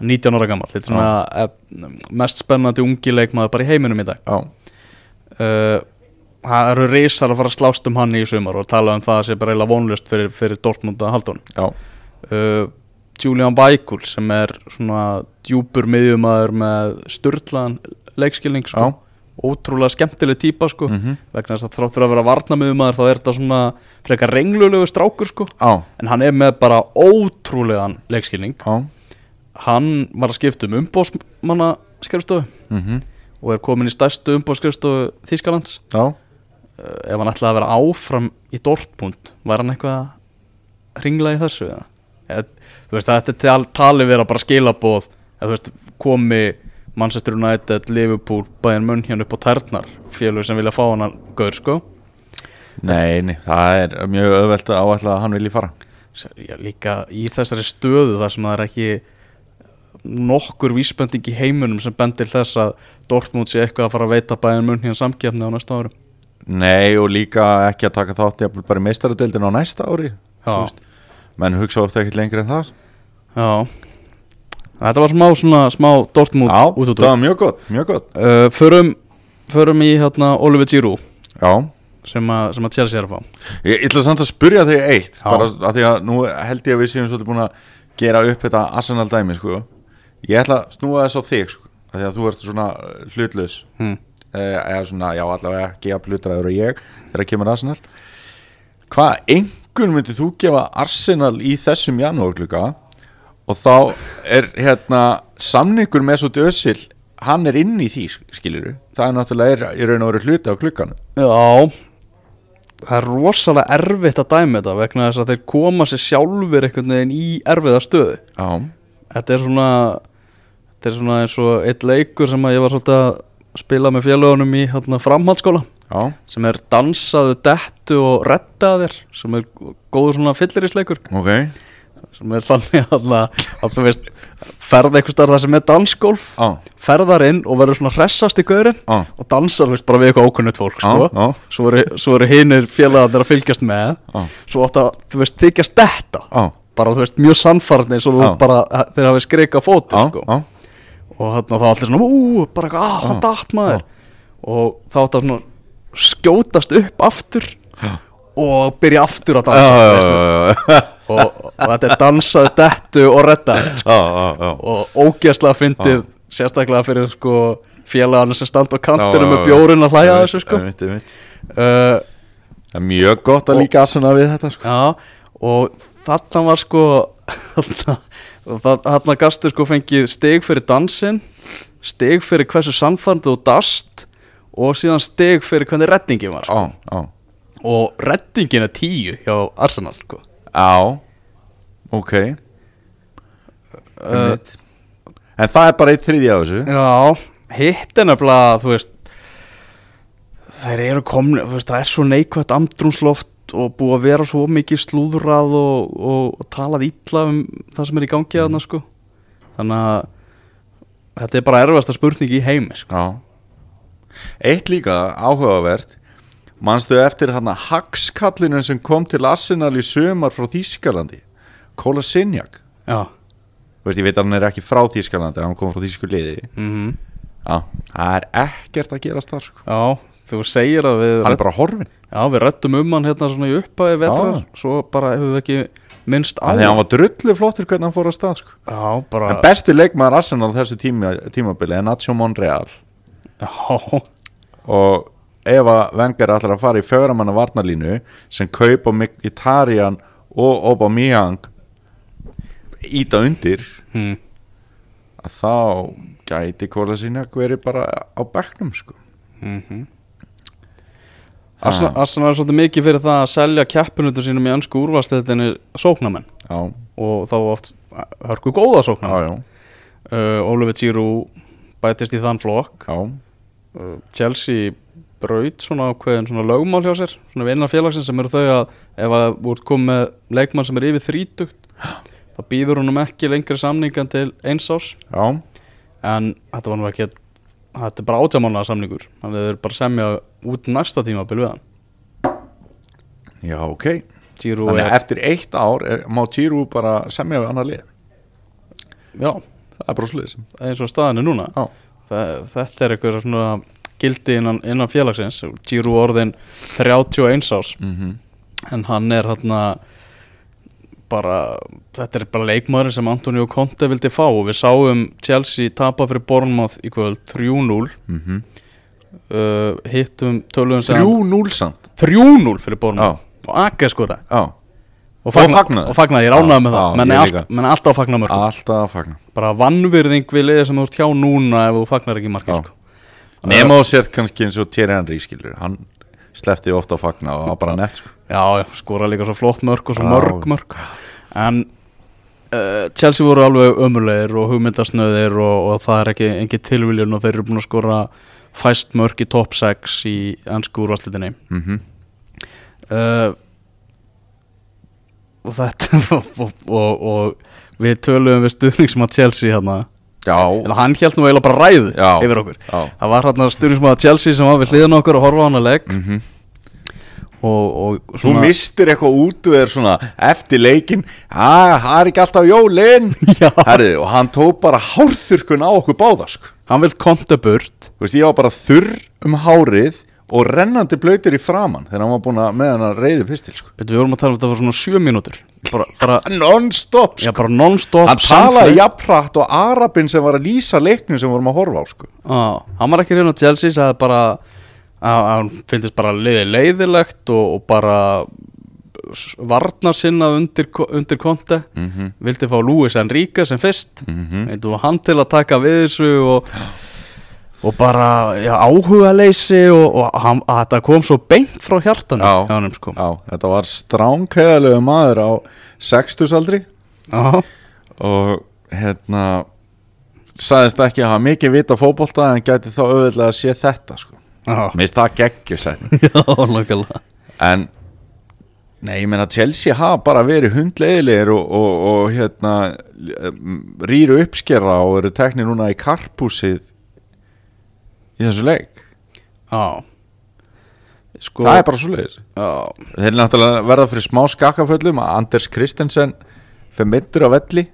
19 ára gammal, þetta er svona eh, mest spennandi ungi leikmaður bara í heiminum í dag
já
uh, það eru reysar að fara að slást um hann í sumar og tala um það sé bara eiginlega vonlust fyrir, fyrir Dortmund að halda honum
Já,
uh, Julian Weikul sem er svona djúpur miðjumæður með styrlaðan leikskilning sko.
Já.
ótrúlega skemmtileg típa sko.
mhm,
vegna þess að þrátt fyrir að vera varnamiðumæður þá er þetta svona frekar renglulegu strákur sko
já,
en hann er með bara ótrúlegan leikskilning
já,
hann var að skipta um umbósmanna skrifstofu
mhm,
og er komin í stærstu umbóskrifstofu Þýskalands
já
Eh, ef hann ætlaði að vera áfram í Dortmund var hann eitthvað að hringla í þessu eða? Eð, þú veist þetta er tal, talið vera bara skilaboð eða þú veist komi Manchester United, Liverpool, Bayern München upp á tærnar félög sem vilja fá hann að gaur sko
Nei, nei, það er mjög auðvelt að áætla að hann vilji fara
já, líka í þessari stöðu þar sem það er ekki nokkur vísbending í heiminum sem bendir þess að Dortmund sé eitthvað að fara að veita bæðin munn hérna samkjafni á næsta árum
Nei, og líka ekki að taka þátt jafnvel bara í meistaradeildin á næsta ári
Já.
Þú veist, menn hugsa ofta ekkert lengri en það
Já Þetta var smá svona smá Dortmund
Já,
út út
það var mjög gott, mjög gott
uh, förum, förum í hérna Oliver Giroud
Já,
sem, a, sem að Chelsea er að fá
Ég ég ætla samt að spurja þig eitt
Já.
bara að því að nú held ég að við séum svolítið búin að gera upp þetta Arsenal dæmi sko. ég ætla að snúa þess á þig sko, að því að þú ert svona eh, hlutlaus
Hmm.
eh, eða svona, já allavega ekki að hlutræður og ég þegar kemur Arsenal hvað engun myndir þú gefa Arsenal í þessum janúarkluka og þá er hérna samningur með svo dösil hann er inn í því skilur það er náttúrulega er, í raun og veru hluti á klukkanu
Já Það er rosalega erfitt að dæma þetta vegna þess að þeir koma sér sjálfur einhvern veginn í erfiða stöðu
Já,
Þetta er svona Þetta er svona eins og eitt leikur sem að ég var svolítið að spila með félagunum í hérna, framhaldsskóla
já,
sem er dansaðu, dettu og reddaðir sem er góður svona fyllirísleikur
ok
sem er þannig að, að, að þú veist ferð einhvers staðar þar sem er dansgólf
Já,
ferðar inn og verður svona hressast í gaurinn
já,
og dansar þú veist, bara við eitthvað ókunnut fólk sko.
já,
svo eru, svo eru hinir félagarnir að fylgjast með
Já.
svo átt að þú veist þykjast þetta
já,
bara þú veist mjög sannfarni svo þú
Já.
bara þeir hafi skrika fóti
já,
sko.
já,
og þarna þá allir svona ú, bara eitthvað, ah, hann
Já.
datt maður og þá átt að svona skjótast upp aftur
Já.
og byrja aftur að dansa þú veist,
já,
og, og þetta er dansaðu, dettu og reddaðir
já, já,
og ógeðslega fyndið sérstaklega fyrir sko félagana sem standa á kantinu
Já, já,
með
já.
bjórin að hlæja að þessu sko
Einmitt, einmitt.
uh,
Það er mjög gott að
Og-
líka aðsana við þetta sko
já, og þarna var sko þarna, þarna gastu sko fengið stig fyrir dansinn stig fyrir hversu samfandið og dast og síðan stig fyrir hvernig reddingin var
Já, já,
og reddingin er tíu hjá Arsenal sko
já, ok
uh,
En það er bara eitt þriðja á þessu
Já, hitt er nefnilega, þú veist Þeir eru komin, þú veist, það er svo neikvægt andrúnsloft og búið að vera svo mikið slúðrað og, og, og talað illa um það sem er í gangi
Mm.
þarna, sko Þannig að þetta er bara erfasta spurning í heimi, sko
Já Eitt líka áhugavert Manstu eftir hann að hagskallinu sem kom til Arsenal í sömar frá Þýskalandi Kolasinjak
Já,
Þú veist, ég veit að hann er ekki frá Þýskalandi Hann kom frá Þýsku liði
mm
Já, það er ekkert að gerast þar sko
já þú segir að við,
Hann er bara horfin
já, við rættum um hann hérna svona í uppæði vetrar
Já.
Svo bara hefur við ekki minnst á
Þannig að hann var drullu flottur hvernig hann fór að stað sko.
Já,
En
bara,
besti leikmaður Arsenal þessu tíma, tímabili er Nacho Monreal
já,
og ef að Wenger ætlar að fara í fjóramanna varnarlínu sem kaupa Mkhitaryan og Aubameyang íta undir
hm,
að þá gæti kóla sinna verið bara á bekknum sko.
Mhm.
Ah.
Arsenal, Arsenal er svolítið mikið fyrir það að selja keppinutur sínum í ennsku úrvalstættinni sóknamenn
Já,
og þá oft hörku góða
já,
sóknamenn
já,
uh, Oliver Giroud bætist í þann flokk
já,
uh, Chelsea braut svona ákveðin svona lögmál hjá sér svona vinnar félagsins sem eru þau að ef að þú ert komið með leikmann sem er yfir þrítugt þá býður honum ekki lengri samningan til eins ás
já,
en þetta var nú ekki þetta er bara átjámánaða samningur þannig að þau eru bara að semja út næsta tíma við hann
já, ok.
Giroud
Þannig að
er,
eftir eitt ár er, má Giroud bara semja við annar lið.
já,
Það er bara sliðisum.
eins og staðan er núna
Já,
Þa- þetta er eitthvað svona gildi innan, innan félagsins Giro orðin 31 ás
mhm.
en hann er hann bara, þetta er bara leikmaður sem Antonio Conte vildi fá og við sáum Chelsea tapa fyrir Bournemouth í kvöld 3-0
Mhm.
uh, hittum tölum
3-0 samt
3-0 fyrir Bournemouth og akka skora
Já,
og
fagnaði.
og fagnaði, ég ránaði
Já,
með það
já,
menn,
ég
er
líka.
allt, menn er alltaf fagnaði mörgum
alltaf að fagna
bara vannvirðing við liðið sem þú ert hjá núna ef þú fagnar ekki markið
Já.
sko.
Nefn á sér kannski eins og Thierry Henry skilur Hann slefti ofta að fagna og var bara nett sko.
Já, já, skora líka svo flott mörg og svo
Já.
mörg mörg En uh, Chelsea voru alveg ömulegir og hugmyndasnöðir og, og það er ekki engin tilviljun og þeir eru búin að skora fæst mörg í top 6 í ennsku úrvarslitinni
mm -hmm.
uh, Og þetta og, og, og við töluðum við stuðningsmann Chelsea hérna En
Já,
hann held nú eiginlega bara ræðu
Já.
yfir okkur
já
Það var hérna stuðningsmann Chelsea sem var við hliðin okkur að horfa á hann að legg
Mhm.
og, og
Þú mistir eitthvað út og er svona eftir leikin að það er ekki alltaf jólin
Já.
Herri, og hann tók bara hárþurkun á okkur báða sko.
hann vil konta burt
Þú veist, ég var bara þurr um hárið og rennandi blöytur í framann þegar hann var búin að með hann að reyði pistil sko.
Betur, við vorum að tala um þetta var svona sjö mínútur bara, bara,
non-stop
já,
sko.
bara non-stop
hann talaði jafnrætt og Arabin sem var að lýsa leiknum sem vorum að horfa á sko.
Já, hann var ekki reyna á Chelsea sagði bara að að hann fyndist bara leiði leiðilegt og, og bara varna sinnað undir, undir konti
Mhm.
vildi fá Luis Enrique sem fyrst mm -hmm. hann til að taka við þessu og, og bara já, áhuga leysi og, og hann, að þetta kom svo beint frá hjartanum
Já.
hjá honum, sko.
Já, þetta var stránkæðalegu maður á 60 aldri
Já.
og hérna sagðist ekki að hafa mikið vita fótbolta en gæti þá auðvitað að sé þetta sko.
Já.
minnst það geggjur sætt
já, nákvæmlega.
en nei, ég meina Chelsea hafa bara verið hundleiðilegir og, og, og hérna um, rýru uppskera og eru teknir núna í karpúsið í þessu leik
Já. Sko,
það er bara svo leiðis
já.
þeir náttúrulega verða fyrir smá skakkaföllum að Anders Kristensen fyrir mittur á velli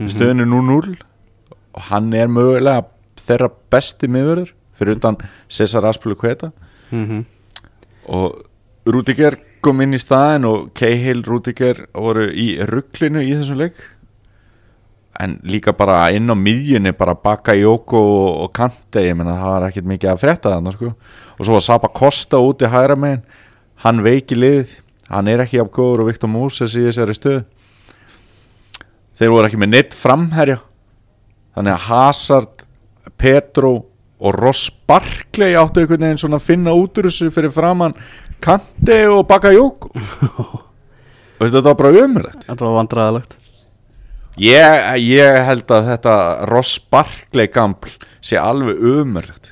stöðinu 0-0 og hann er mögulega þeirra besti miðverður fyrir utan Cesar Aspulu Kveta
Mm
og Rúdiger kom inn í staðin og Cahill Rúdiger voru í rugglinu í þessum leik en líka bara inn á miðjunni bara baka Jóko og, og Kante ég menna það var ekkert mikið að frétta þannig sko. og svo var Sapa Kosta úti hægra megin hann veiki lið hann er ekki af góður og Viktor Moses í þessari stöð þeir voru ekki með neitt framherja þannig að Hazard Petro og Ross Barkley áttu einhvern veginn svona að finna út úr þessu fyrir framann Kante og Bakayoko Veistu, þetta var bara umrætt
Þetta var vandræðilegt.
ég, ég held að þetta Ross Barkley gampl sé alveg umrætt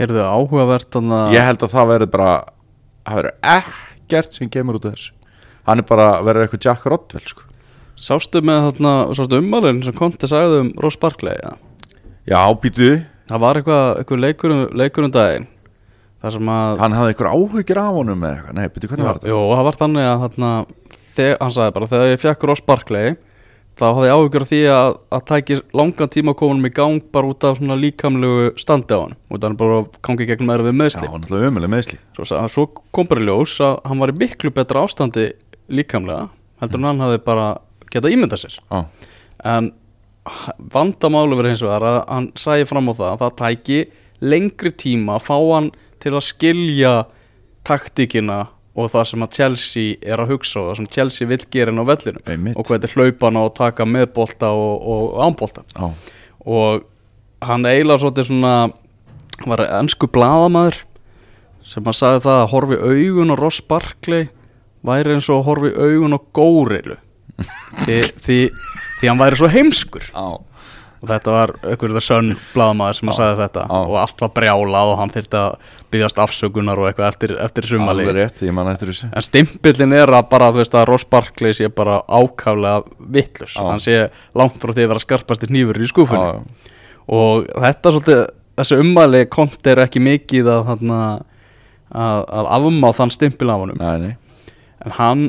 Heyrðu áhugavert þannig
ég held að það verður bara það verður ekkert sem kemur út af þessu hann er bara verður eitthvað Jack Rodwell sko.
Sástu með þarna, sástu ummalinn sem Konti sagði um Ross Barkley ja.
já, býtu,
Það var eitthvað, eitthvað leikur, um- leikur um daginn Það sem að
hann hafði einhver áhugir af honum eða eitthvað, nei, býtu, hvernig var þetta
Jú, það var þannig að þarna þeg, Hann sagði bara, þegar ég fekk Ross Barkley Þá hafði ég áhyggjur af því að, að tæki langan tíma komunum í gang bara út af svona líkamlegu standi á hann út af hann bara gangi gegnum erfið
já,
meðsli
hann er alltaf umrætt meðsli
svo, sa- svo kom bara í ljós að hann var í miklu betra ástandi líkamlega heldur en hann hafði bara getað ímyndað sér
já,
en vandamálu verið hins vegar að hann sæði fram á það að það tæki lengri tíma að fá hann til að skilja taktíkina og það sem að Chelsea er að hugsa og það sem Chelsea vil gera inn á vellinu
Einmitt.
og hvað þetta er hlaupana og taka meðbolta og, og ánbolta
já
og hann eiginlega svolítið svona var ennsku bladamaður sem að sagði það að horfi augun og Ross Barkley væri eins og að horfi augun og górilu því, því, því hann væri svo heimskur
Já,
og þetta var einhverjuð sönn bladamaður sem að sagði þetta
á.
og allt var brjálað og hann þyrfti að byggast afsökunar og eitthvað eftir, eftir sumali
alveg rétt, ég man eftir þessu
en stimpillin er að bara þú veist að Ross Barkley sé bara ákaflega vittlus
Á.
hann sé langt frá því að vera skarpasti nýfur í skúfunni
Já,
og þetta svolítið þessi ummæli kont er ekki mikið að, þarna, að, að afmá þann stimpil af honum
Nei, nei,
en hann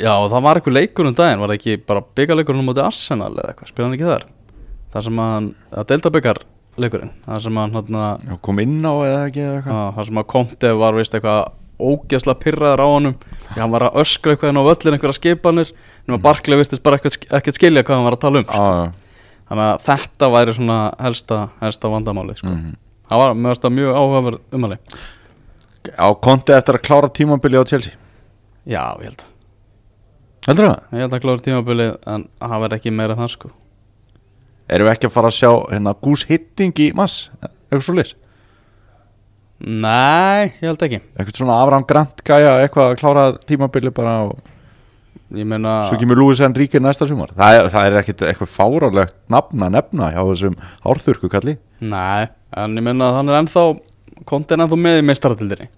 já það var eitthvað leikur um daginn var það ekki bara byggarleikurinn á móti Arsenal eða eitthvað spilaði hann ekki þar þar sem hann að delta byggarleikurinn þar sem hann hann að
Já, kom inn á eða ekki eða eitthvað
þar sem að Conte var veist eitthvað ógeðslega pirraður á honum því hann var að öskra eitthvað inn á völlin einhverja skipanir nema Barkley virtist bara ekkert, ekkert skilja hvað hann var að tala um sko.
Já, já,
Þannig að þetta væri svona helsta, helsta vandamáli sko.
Mhm.
Það var mjög, mjög áhugaverð umhæli
á konti eftir að klára tímabili á Chelsea
Já, ég held að
Heldur það?
Ég held að klára tímabilið en það verði ekki meira það sko
Erum við ekki að fara að sjá hérna gús hitting í mass? Eitthvað svo lir?
Nei, ég held ekki
Eitthvað svona Avram Grant gæja eitthvað að klára tímabili bara og
Ég meina,
svo kemur Lúis Enrique næsta sumar Það, er- það er ekkit eitthvað fárálegt nafn að nefna hjá þessum hárþurku kalli
nei En ég meina að hann er ennþá Konti er ennþá með í meistaratildinni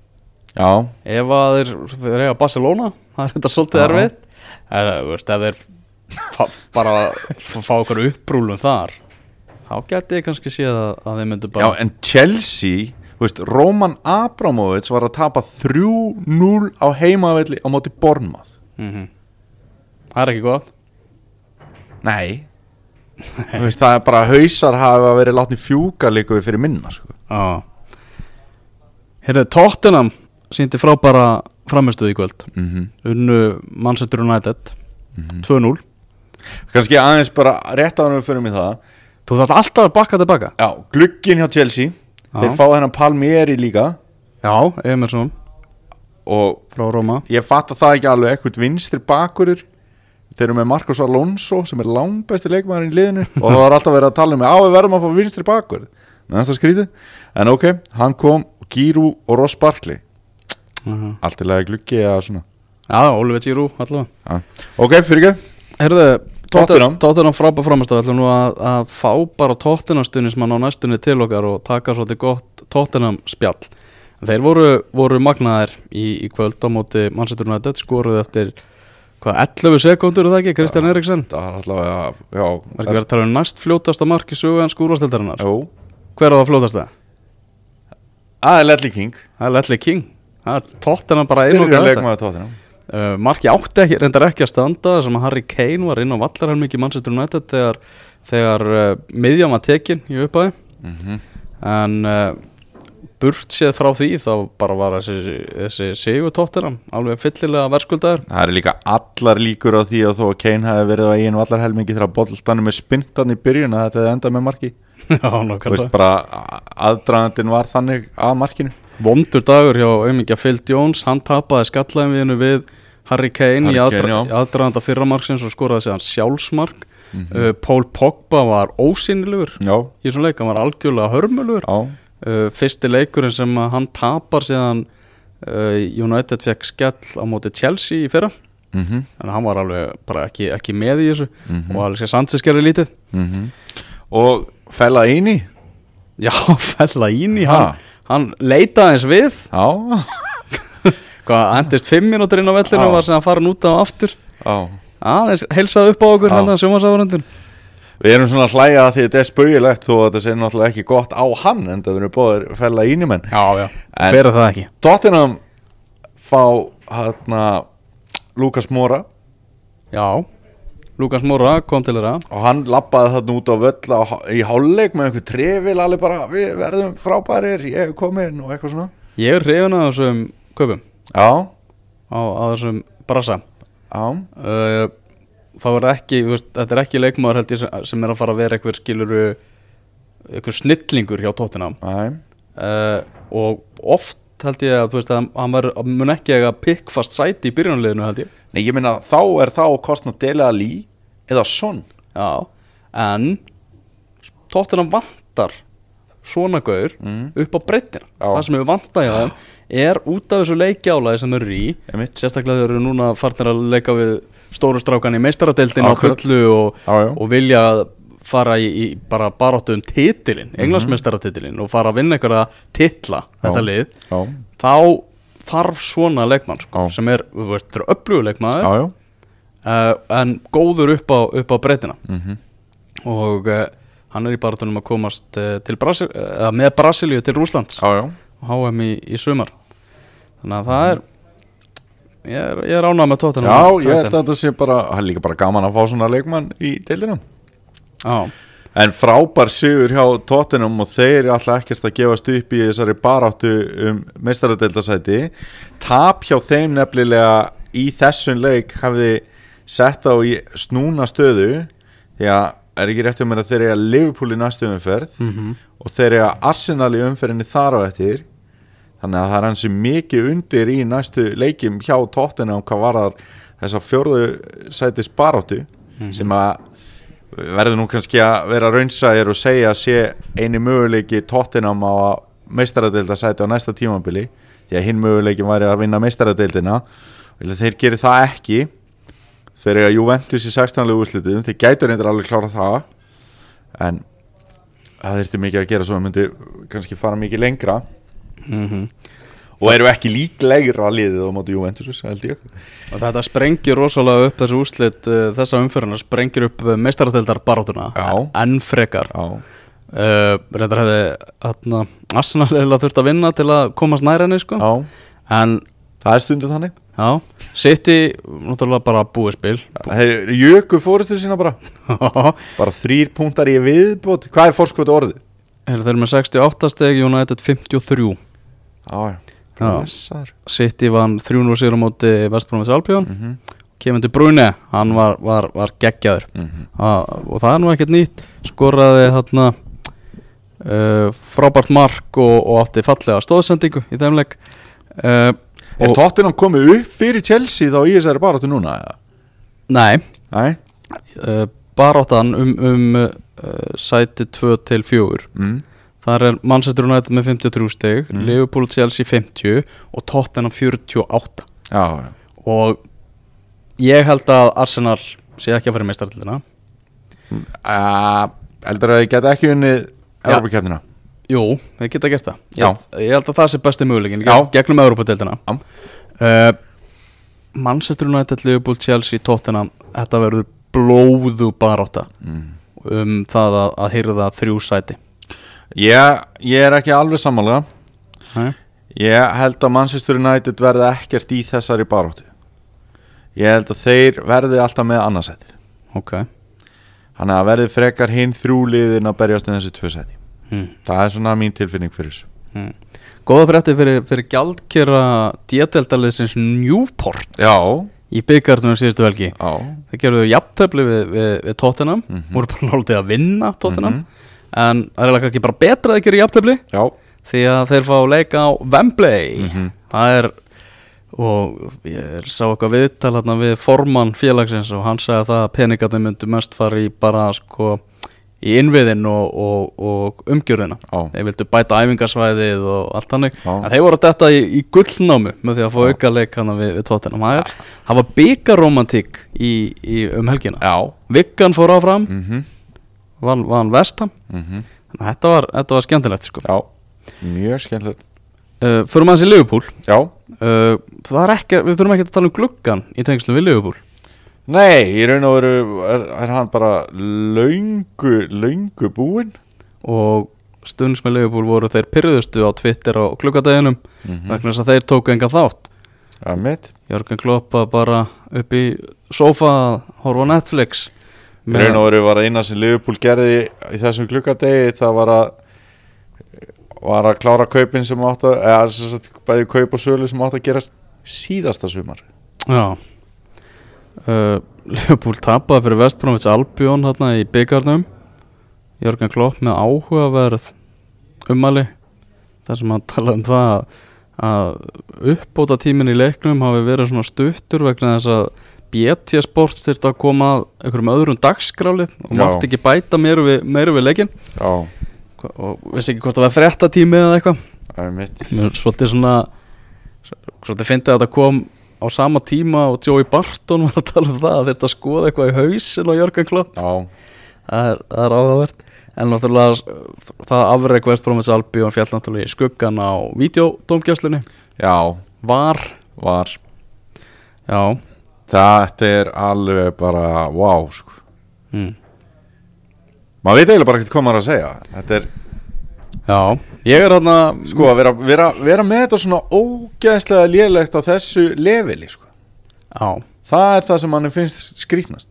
Já,
Ef að þeir, þeir eiga Barcelona Það er þetta svolítið
Já.
erfið En þú veist, ef þeir fá, bara fá- fá okkur upprúlum þar Þá geti ég kannski séð að, að þeir myndu
já
bara
en Chelsea þú þú veist, Roman Abramovits var að tapa 3-0 á heimavelli á móti Bornmað
Mhm. Það er ekki gott
Nei Þú veist, það er bara hausar hafa verið látni fjúka líka við fyrir minna sko.
Já Herðu, Tottenham síndi frábæra framistuð í kvöld
mm
Unnu Manchester United 2-0
Kannski aðeins bara rétt ánum við fyrir mig það
Þú þarf alltaf að bakka tilbaka
Já, glugginn hjá Chelsea Þeir fá þennan Palmieri líka
Já, Emerson
og
frá Roma
ég fatta það ekki alveg eitthvað vinstri bakurur þeir eru með Marcos Alonso sem er langbæsti leikmaðurinn í liðinu og það var alltaf verið að tala um á við verðum að fá vinstri bakur næsta skrítið, en ok, hann kom Gíru og Ross Barkley
uh -huh.
allt í lagi gluggi eða svona
Já, Oliver Giroud allavega
ja. ok, fyrir ekki,
Herðu,
Tottenham.
Tottenham Tottenham frábæra framistuð ætlum nú að, að fá bara Tottenham stuðnismann á næstunni til okkar og taka svolítið gott Tottenham spjall Þeir voru, voru magnaðir í, í kvöld á móti Manchester United skoruð eftir hvað, 11 sekundur er það ekki, Kristján Eriksen
það var alltaf að já,
Var ekki verið að tala um næst fljótasta mark í sögu hans skúrvastildarinnar?
jú,
Hver á það fljótasta?
aðeins Ledley King
Það er Ledley King. Það er tóttina bara einu og
fyrir
gæta.
leikmaður tóttina
Uh, marki átti ekki, reyndar ekki að standa þar sem að Harry Kane var inn á vallarhelmingi Manchester United þegar, þegar uh, miðjan var tekin í uppæði.
Mhm.
En uh, burt séð frá því þá bara var þessi, þessi sigur tóttina alveg fyllilega verðskuldaður.
Það eru líka allar líkur á því að þó að Kane hafi verið á eigin vallarhelmingi þegar bollstanum er spintan í byrjun að þetta hefði endað með marki
Já,
Þú veist
nokkvæmlega.
bara aðdragandin var þannig að markinu
Vondur dagur hjá auðmingja Phil Jones, hann tapaði skallæmiðinu við Harry Kane í
Harry Kane, já. Mhm.
aðdra- í aðdraðanda fyrramarksins og skoraði séðan sjálfsmark uh, Paul Pogba var ósynilegur
Já,
í þessum leik, hann var algjörlega hörmulegur
já,
uh, fyrsti leikurinn sem að hann tapar séðan uh, United fekk skell á móti Chelsea í fyrra
mhm, mhm
en hann var alveg bara ekki, ekki með í þessu og Alexis Sanchez gerði lítið
mhm. Og fæla eini
Já, fella ín í
Ha.
hann hann leitaði eins við
Já,
hvað, endist fimm mínútur inn á vellinu
Já.
og var séðan farin út á aftur
já
aðeins heilsaði upp á okkur
Já.
hann að sjómasafuröndun
Við erum svona að hlæja að því þetta er spauðilegt þó að þetta sé náttúrulega ekki gott á hann en það verður bóðir fæla eini menn
Já, já,
En-
fyrir það ekki
Tottenham fá hérna Lukas Mora
Já, Lukas Móra kom til þeirra
og hann lappaði þarna út á völl á, í hálfleik með einhver trefil alveg bara við verðum frábærir, ég hef komin og eitthvað svona
Ég er hrifin að þessum kaupum
já,
á, á þessum brasa
já,
uh, Þá er ekki, þú veist, þetta er ekki leikmaður held ég sem- sem er að fara að vera einhver skiluru einhver snillingur hjá tóttina
næ
uh, og oft held ég að þú veist að hann var, mun ekki að pikkfast sæti í byrjunarliðinu held ég
nei, ég minna þá er þá kostna Dele Alli eða Son
Já, en tóttina vantar svona gaur upp á breyttina
Mm. Já.
það sem við vantar hjá þeim er út af þessu leikjálaði sem þeir eru í
Einmitt.
sérstaklega þeir eru núna farnir að leika við stóru strákan í meistaradeildin á
Akkurat.
fullu og,
Já, já.
og vilja fara í, í bara baráttu um
Mhm.
titilin englansmeistaratitilin og fara að vinna einhverja titla þetta lið
já,
þá þarf svona leikmann sko,
Já.
sem er, þú veist, þeir eru öflugu leikmaður
já, já,
uh, en góður upp á, upp á breytina
Mhm.
og uh, hann er í barátunum að komast uh, til Brasil, uh, með Brasilíu til Rúslands
já, já.
á HM í, í sumar þannig að það er ég er, ég er ánað með tóttina
Já, ég held að þetta sé bara, það er líka bara gaman að fá svona leikmann í deilina
já,
En frábær sigur hjá Tottenham og þeir eru alltaf ekkert að gefast upp í þessari baráttu um meistaradeildasæti. Tap hjá þeim nefnilega í þessum leik hafði sett á í snúna stöðu því að er ekki rétt um mér að þeir eru að Liverpool í næstu umferð og þeir eru að Arsenal í umferðinni þar á eftir þannig að það er hansi mikið undir í næstu leikim hjá Tottenham hvað varðar þessa fjórðu sætis baráttu sem að verður nú kannski að vera raunsæðir og segja að sé eini möguleiki Tottenham á að meistaradeilda sæti á næsta tímambili því að hinn möguleikin væri að vinna meistaradeildina Ef þeir gerir það ekki þeir eru að Juventus í 16. úrslitum þeir gætur reyndir alveg klára það en það þurfti mikið að gera svo að myndi kannski fara mikið lengra
Mhm.
og eru ekki líklegra liðið á móti Juventus held ég
og þetta sprengir rosalega upp eh, þessu úslit uh, þessa umfyrirna sprengir upp meistarateldar barátuna
Já.
enn eh, frekar
Já,
uh, reyndar hefði hérna, Arsenal eiginlega þurft að vinna til að komast nær henni sko.
Já,
en
það er stundu þannig
já, City náttúrulega bara búið spil
Þeir jöku fórustu sína bara
Þeir
Bara þrýr punktar í viðbót Hvað er fórskotu orðið?
eru með 68 steg, United 53
Já,
Já.
já
City vann 300 sigur á móti Vestbrónvins Alpjón mm
Mhm,
-hmm. Kevin De Bruyne, hann var, var, var geggjaður
mhm.
ha, og það er nú ekkert nýtt skoraði þarna uh, frábært mark og, og átti fallega stóðsendingu í þeim leik uh,
Er
og,
Tottenham komið upp fyrir Chelsea þá í þessari baráttu núna? eða?
nei,
Nei
uh, baráttan um, um uh, sæti 2 til 4
mm.
þar er Manchester United með 53 steg Liverpool Chelsea 50 og Tottenham 48
Já, já
og ég held að Arsenal sé ekki að fara í meistaraldina
Uh, heldur að þið geta ekki unni
Já.
Európa-keppnina
Jú, þeir geta gert það
Já.
ég, ég held að það sé besti möguleikin
Já.
gegnum Európa-deildina
Já.
uh, Manchester United, Liverpool, Chelsea, Tottenham þetta verður blóðu baróta
mm.
um það að, að hýrða þrjú sæti
ég, ég er ekki alveg sammála
Nei.
Ég held að Manchester United verði ekkert í þessari baráttu Ég held að þeir verði alltaf með annarsæti
Ok
Þannig að verði frekar hinn þrjú liðin að berjast með þessi tvö sæti
hmm.
Það er svona mín tilfinning fyrir þessu
hm. Góða frétti fyrir, fyrir gjaldkera D-deildaliðsins Newport
Já,
í byggartunum síðustu velgi
já
Það gerðu jafntefli við, við, við Tottenham
Mhm.
voru bara náttúrulega að vinna Tottenham en það er eiginlega ekki bara betra að þeir gera jafntefli
Já,
því að þeir fá leika á Wembley
Mhm.
það er og ég sá eitthvað viðtal hérna við formann félagsins og hann sagði það að peningarnir myndu mest fara í bara sko í innviðin og, og, og umgjörðina
Já.
þeir vildu bæta æfingarsvæðið og allt þannig
Já.
en þeir voru þetta í, í gullnámu með því að fá auka leik hana við, við tóttina það er, það var byggaromantík í, í, um helgina
já
Viggan fór áfram,
mm
vann van vestam
Mhm.
þannig að þetta var, þetta var skemmtilegt sko.
Já, mjög skemmtilegt
uh, Förum aðeins í Liverpool
Já,
Uh, það er ekki, við þurfum ekki að tala um gluggan í tengslum við Liverpool
nei, í raun og veru er, er hann bara löngu, löngu búinn
og stundins með Liverpool voru þeir pyrruðustu á Twitter á gluggadeginum
Mhm.
vegna þess að þeir tóku engan þátt
Já, mitt
Jörgen Klopp að bara upp í sofa að horfa á Netflix
Í raun og veru var að eina sem Liverpool gerði í þessum klukkadegi það var að var að klára kaupin sem átt að eða sem sagt, bæði kaup og sölu sem átt að gerast síðasta sumar
Já uh, Liverpool tapaði fyrir Vestbrónvits Albion hérna í byggarnum Jörgen Klopp með áhugaverð umali þar sem hann talaði um það að- að uppbóta tíminn í leiknum hafi verið svona stuttur vegna þess að BT Sports þyrfti að koma að einhverjum öðrum dagskrálið og
Já.
mátti ekki bæta meira við, meira við leikin
Já,
og vissi ekki hvort það var frettatími eða eitthvað
það er mitt
Mér er svolítið svona svolítið fyndið að það kom á sama tíma og Joey Barton var að tala um það að þetta skoða eitthvað í hausin á Jörgen Klopp
Já,
það er, það er áhugavert en náttúrulega uh, það afreg Vestbrómins Albion fjall náttúrulega í skuggan á videodómgjæslunni
já,
var,
var
já
Þetta er alveg bara, wow, sko
mm.
Maður veit eiginlega bara ekkert hvað maður er að segja Þetta er
já, ég er þarna
Sko að vera, vera, vera með þetta svona ógeðslega lélegt á þessu leveli sko.
já,
Það er það sem manni finnst skrítnast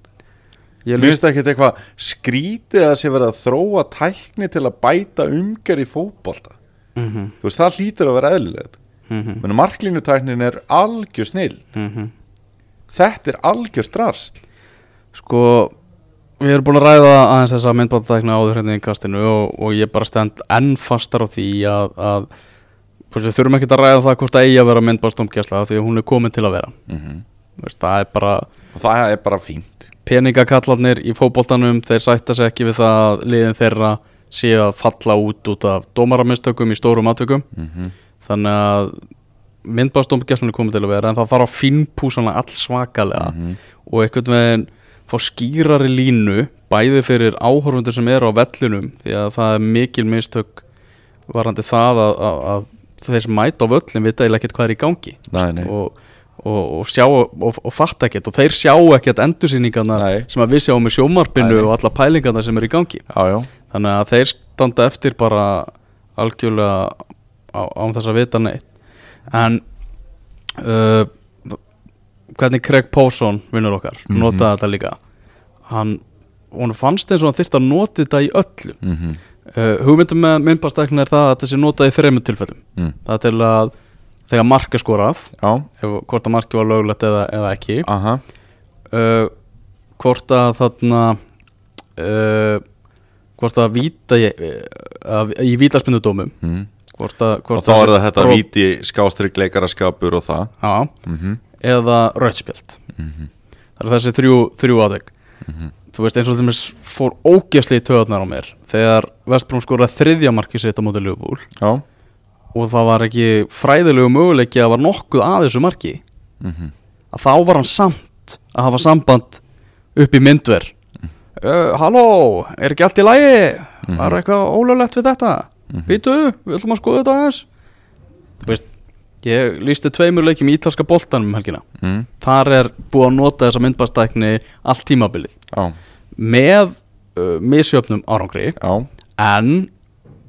ég
Mér
lýst
finnst ekkert eitthvað skrítið að sé verið að þróa tækni til að bæta umgerð í fótbolta
mm -hmm,
Þú veist, það hlýtur að vera eðlilegt
mm -hmm,
Men marklínutæknin er algjör snill
mhm.
Þetta er algjör drasl
sko við erum búin að ræða aðeins þessa myndbáttækna áður hérna í kastinu og, og ég bara stend enn fastar á því að, að þú veist, við þurfum ekki að ræða það hvort það eigi að vera myndbáttstómkjæsla því að hún er komin til að vera
Mhm.
Þú veist, það er bara
Og það er bara fínt
peningakallarnir í fótboltanum þeir sætta sig ekki við það að liðin þeirra sé að falla út út af dómaramistökum í stórum atvökum
Mhm.
þannig að myndbáðstómgæslan er komið til að vera en það þarf að finnpúsa hana alls svakalega
Mhm.
og einhvern veginn fá skýrari línu bæði fyrir áhorfundur sem eru á vellinum því að það er mikil mistök varandi það að, að, að þeir sem mæta á völlin vita eiginlega ekkert hvað er í gangi
Nei, nei.
Og, og, og sjá og, og fatta ekkert og þeir sjá ekkert endursýningarna
Nei.
sem að við sjáum í
Nei,
sjómarpinu
nei.
og alla pælingarna sem eru í gangi
Já, já
þannig að þeir standa eftir bara algjörlega á, án þess að vita neitt en uh, hvernig Craig Pawson vinnur okkar,
Mhm.
notaði þetta líka hann, hún fannst eins og hann þyrfti að nota þetta í öllu
mm -hmm.
uh, hugmyndum með myndbastekna er það að þetta sé notað í þreymur tilfellum
mm.
það er til að þegar mark er skorað
Já,
ef, hvort að marki var löglegt eða, eða ekki
aha
uh, hvort að þarna uh, hvort að víta í, uh, í vítaspindudómum
mm.
hvort að,
Og
hvort
þá er það þetta
brot-
víti skástrík leikaraskapur og það
já,
mm -hmm.
eða röðspjöld
Mhm.
það er þessi þrjú, þrjú aðeik þú veist eins og þeim fór ógjöfsli í töðarnar á mér þegar Vestbrón skoraði þriðja markið sitt á móti Ljúbúl
Já
og það var ekki fræðilegu möguleiki að var nokkuð að þessu marki
mm -hmm.
að þá var hann samt að hafa samband upp í myndver uh, Halló, er ekki allt í lagi? Var eitthvað ólöglegt við þetta? Vítu, við ætlum að skoða þetta aðeins Mhm. Þú veist, ég lísti tveimur leikjum í ítalska boltanum um helgina
mm.
Þar er búið að nota þessa myndbastækni allt tímabilið
Já,
með uh, misjöfnum árangri
já,
en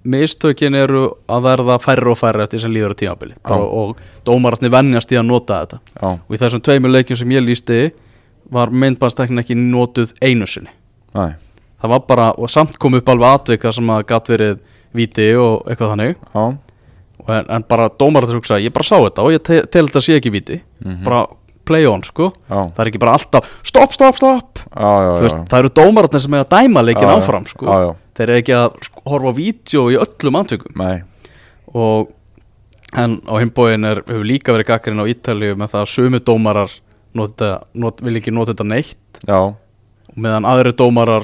mistökin eru að verða færri og færri eftir sem líður á tímabilið
Já.
Bara- og dómaratni vennjast í að nota þetta
já
og í þessum tveimur leikjum sem ég lísti var myndbandstæknin ekki notuð einu sinni
Æ,
það var bara, og samt kom upp alveg atvika sem að gat verið viti og eitthvað þannig
já
Og en, en bara dómarður hugsa, ég bara sá þetta og ég te tel þetta sé ekki viti bara play on sko
Mhm. Já.
það er ekki bara alltaf, stopp, stopp, stopp
Já, já,
Þú
já,
veist, það eru dómararnir sem er að dæma leikin
Já, já.
áfram sko.
Já, já.
þeir eru ekki að sk- horfa á vídeo í öllum antökum
Nei,
og en á himbóin er, hefur líka verið gaggrinn á Ítalíu með það að sömu dómarar nota, not, vil ekki nota þetta neitt
já
meðan aðri dómarar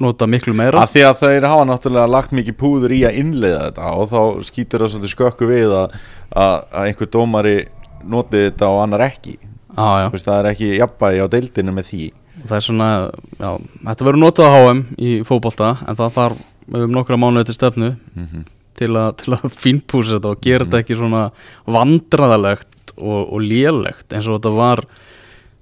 nota miklu meira
að því að þeir hafa náttúrulega lagt mikið púður í að innleiða þetta og þá skýtur það svolítið skökku við að, að, að einhver dómari notið þetta og annar ekki Þú
á, Ah, já.
veist, það er ekki jafnvægi á deildinu með því
það er svona já, þetta verður notað á HM í fótbolta en það þarf um nokkra mánuði til stefnu til, að, til að fínpúsa þetta og gera þetta ekki svona vandraðalegt og, og lélegt eins og þetta var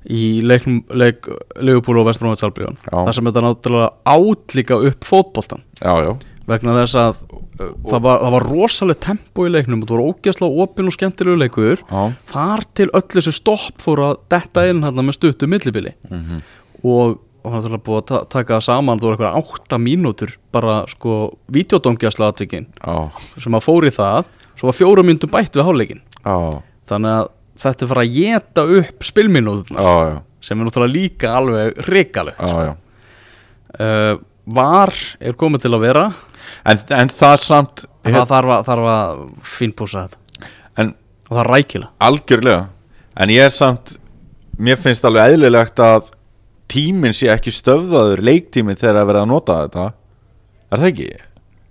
í leiknum, leik Leopold og Vestbróðins Albion
Já.
þar sem þetta náttúrulega átlíka upp fótboltan
já, já,
vegna þess að uh, það var, það var rosaleg tempo í leiknum og það var ógeðslega opinn og skemmtilegu leikur
já,
þar til öll þessu stopp fór að detta inn hérna með stuttum millibili
Mhm.
og og hann þarf að búið að ta taka það saman þú voru eitthvað átta mínútur bara sko videodómgjæsla atvikin
já,
sem að fór í það svo var fjórum mínútur bætt við háleikin
já,
þannig að þetta er fara að geta upp spilminúðuna
já, já,
sem er náttúrulega líka alveg reikalegt
já, já.
uh, var er komið til að vera
En, en það samt
en það þarf að, þarf að fínpúsa þetta
en
og það er rækilega
algjörlega en ég er samt, mér finnst alveg eðlilegt að tíminn sé ekki stöðaður leiktíminn þegar að vera að nota þetta er það ekki?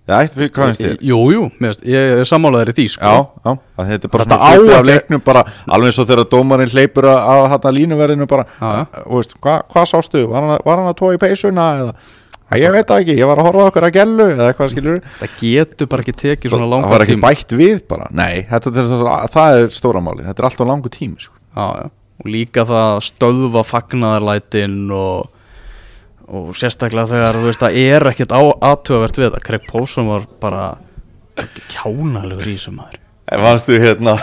Það er eitthvað, hvað finnst þér?
Jú, jú, mér finnst- ég er sammálaður í því sko.
Já, já, að þetta er bara
Þetta
svona
á
hluti af
að-
leiknum bara, alveg eins og þegar dómarinn hleypur að, að hérna línuverðinu bara,
Já, já.
og veist, hva, hvað sástu, var hann, að- var hann að tóa í peysuna eða, að ég veit það ekki, ég var að horfa á okkur að gellu eða eitthvað skilur,
Það getur bara ekki tekið svona
það
langan
var ekki
tíma
bætt við bara, nei, þetta, þetta, það er stóra máli, þetta er alltaf langu tími, sko.
já, já. Og líka það að stöðva fagnaðarlætin og, og sérstaklega þegar þú veist það er ekkert á aðtugavert við þetta Craig Pawson var bara kjánalegur í þessum maður
En varstu hérna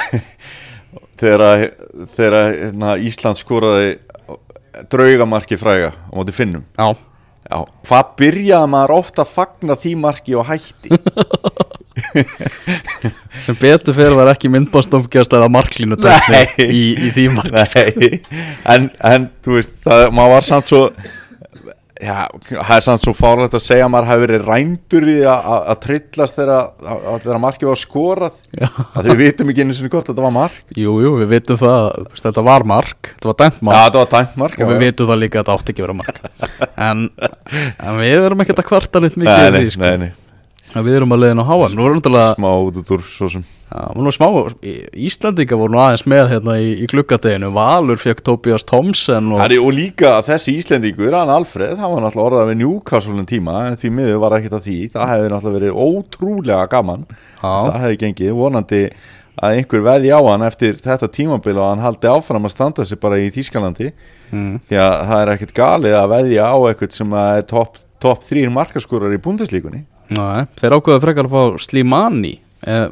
þegar, að- þegar að, hérna, Ísland skoraði draugamarki fræga á móti finnum
Já,
Já, hvað byrjaði maður ofta að fagna því marki og hætti
sem betur fyrir var ekki myndbástómkjast eða marklínu
Nei.
í, í því sko. mark
Nei, en, en þú veist, það, maður var samt svo Já, það er samt svo fárlegt að segja að maður hafi verið rændur í að, að, að trillast þegar að- að- þegar markið var skorað
Já.
að því við vitum ekki einu sinni hvort þetta var mark
Jú, jú, við vitum það að þú veist, þetta var mark, þetta var dæmt
Já,
mark
þetta var tæmt mark
og
já,
við
já.
vitum það líka að þetta átti ekki að vera mark en, en við erum ekkert að kvarta neitt mikið
Nei,
yfir
nei,
því, sko.
nei, nei,
En Við erum að leiðin á HM Nú erum náttúrulega
smá út út úr svo sem
Já, hún var smá, Í- Íslendinga voru nú aðeins með hérna í, í gluggadeginu, Valur fekk Tobias Thomsen og
Herri, og líka að þessi Íslendingur, hann Alfred, hann var náttúrulega orðað við Newcastle um tíma en því miður var ekkert að því, það hefði náttúrulega verið ótrúlega gaman, það hefði gengið vonandi að einhver veði á hann eftir þetta tímabil og hann haldi áfram að standa sig bara í Þýskalandi
Mm.
því að það er ekkert galið að veðja á eitthvað sem að er topp top 3 markaskúrar í búndeslíkunni
Næ, þeir ákveðu frekar að fá Slimani eh,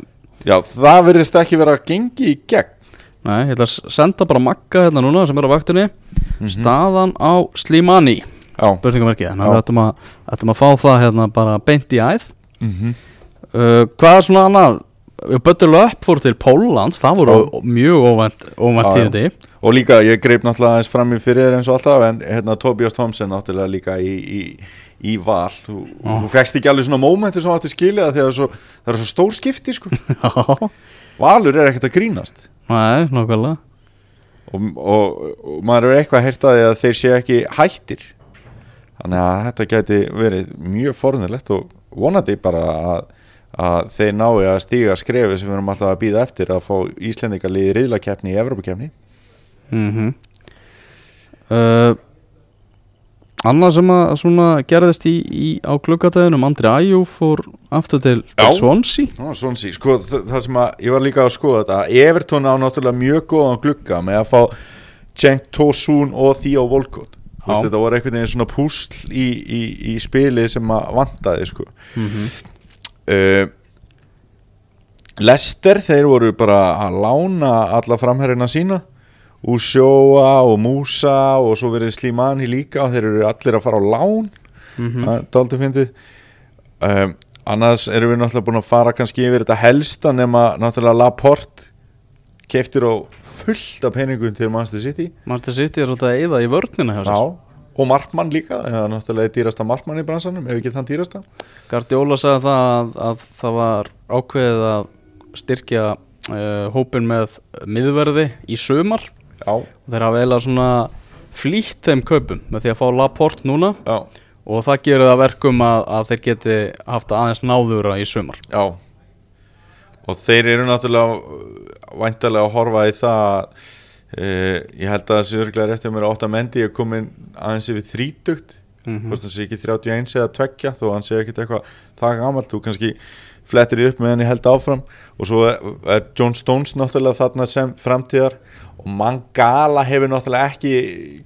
Já, það verðist ekki vera að gengi í gegn
Nei, ég ætla að senda bara Magga hérna núna sem er á vaktinni Staðan á Slimani
Mhm. Já,
Börningamerki, þannig
Já.
að við ætlum að, ætlum að fá það hérna bara beint í æð
mm
uh, Hvað er svona annað? Bötturlöpp fór til Póllands, það voru mjög óvænt, óvænt
Já, já.
tíðandi
og líka ég greip náttúrulega aðeins fram í fyrir þér eins og alltaf en hérna Tobias Thompson náttúrulega líka í, í, í val þú,
Já.
þú fegst ekki alveg svona mómenti sem þú átti skilið að því að það er svo, það er svo stór skipti sko.
Já,
Valur er ekkert að grínast
nei, nákvæmlega
og, og, og maður er eitthvað að heyrta því að þeir sé ekki hættir þannig að þetta gæti verið mjög fornilegt og vonandi bara að, að þeir nái að stíga skrefi sem við erum alltaf að býða eftir að fá Íslendingalið í riðlakeppni í Evrópakefni
mm uh, Annað sem að svona gerðist í, í á gluggatæðinum Andri Æjú fór aftur til,
Já.
til Swansea
Ná, svonsi, sko, þ- það sem að ég var líka að skoða þetta að Everton á náttúrulega mjög góðan glugga með að fá Cenk Tosun og Theo Volkot
Já.
Vist, þetta voru einhvern veginn svona púsl í, í, í spili sem að vantaði sko. uh, Lester þeir voru bara að lána alla framherrina sína Úsjóa og Músa og svo verið Slimani líka og þeir eru allir að fara á lán það er dálítið fyndið um, annars erum við náttúrulega búin að fara kannski yfir þetta helsta nema náttúrulega Laporte keftir á fullt af peningum til Manchester City
Manchester City er svolítið að eyða í vörnina hjá sér
Já, og Markmann líka það er náttúrulega dýrasta Markmann í bransanum ef ekki þann dýrasta
Guardiola sagði það að, að það var ákveðið að styrkja uh, hópin með miðverði í sömar
Já,
þeir hafa eiginlega svona flýtt þeim kaupum með því að fá Laporte núna
já,
og það gerir það að verkum að, að þeir geti haft aðeins náðura í sömar
já og þeir eru náttúrulega væntalega að horfa í það e, ég held að þessi örglega rétt um er átt að mendi ég komin aðeins yfir þrítugt
Mhm.
hvort hann sé ekki 31 eða 2 þó hann sé ekkit eitthvað það gamalt þú kannski flettir því upp með henni held áfram og svo er, er John Stones náttúrulega þarna sem framtíðar og Mangala hefur náttúrulega ekki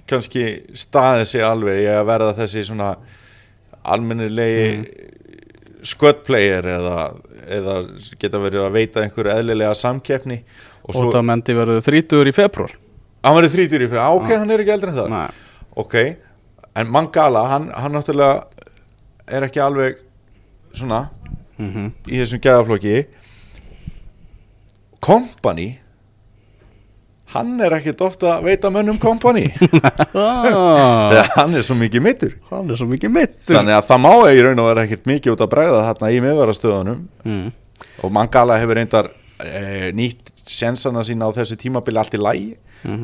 kannski staðið sig alveg í að verða þessi svona almennilegi sköttplayer eða, eða geta verið að veita einhverju eðlilega samkeppni og
og
svo,
það mendi verður 30 í februar
hann verið þrítur í fyrir, ok, hann er ekki eldri en það
Nei.
ok, en Mangala hann, hann náttúrulega er ekki alveg svona
Mhm.
í þessum gæðaflokki Company hann er ekkert ofta að veita mönnum Company
ah,
þegar hann er svo mikið mittur
hann er svo mikið mittur
þannig að það má í raun og vera ekkert mikið út að bregða þarna í miðvarastöðunum
mm.
og Mangala hefur reyndar e, nýtt sensana sína á þessu tímabili allt í lægi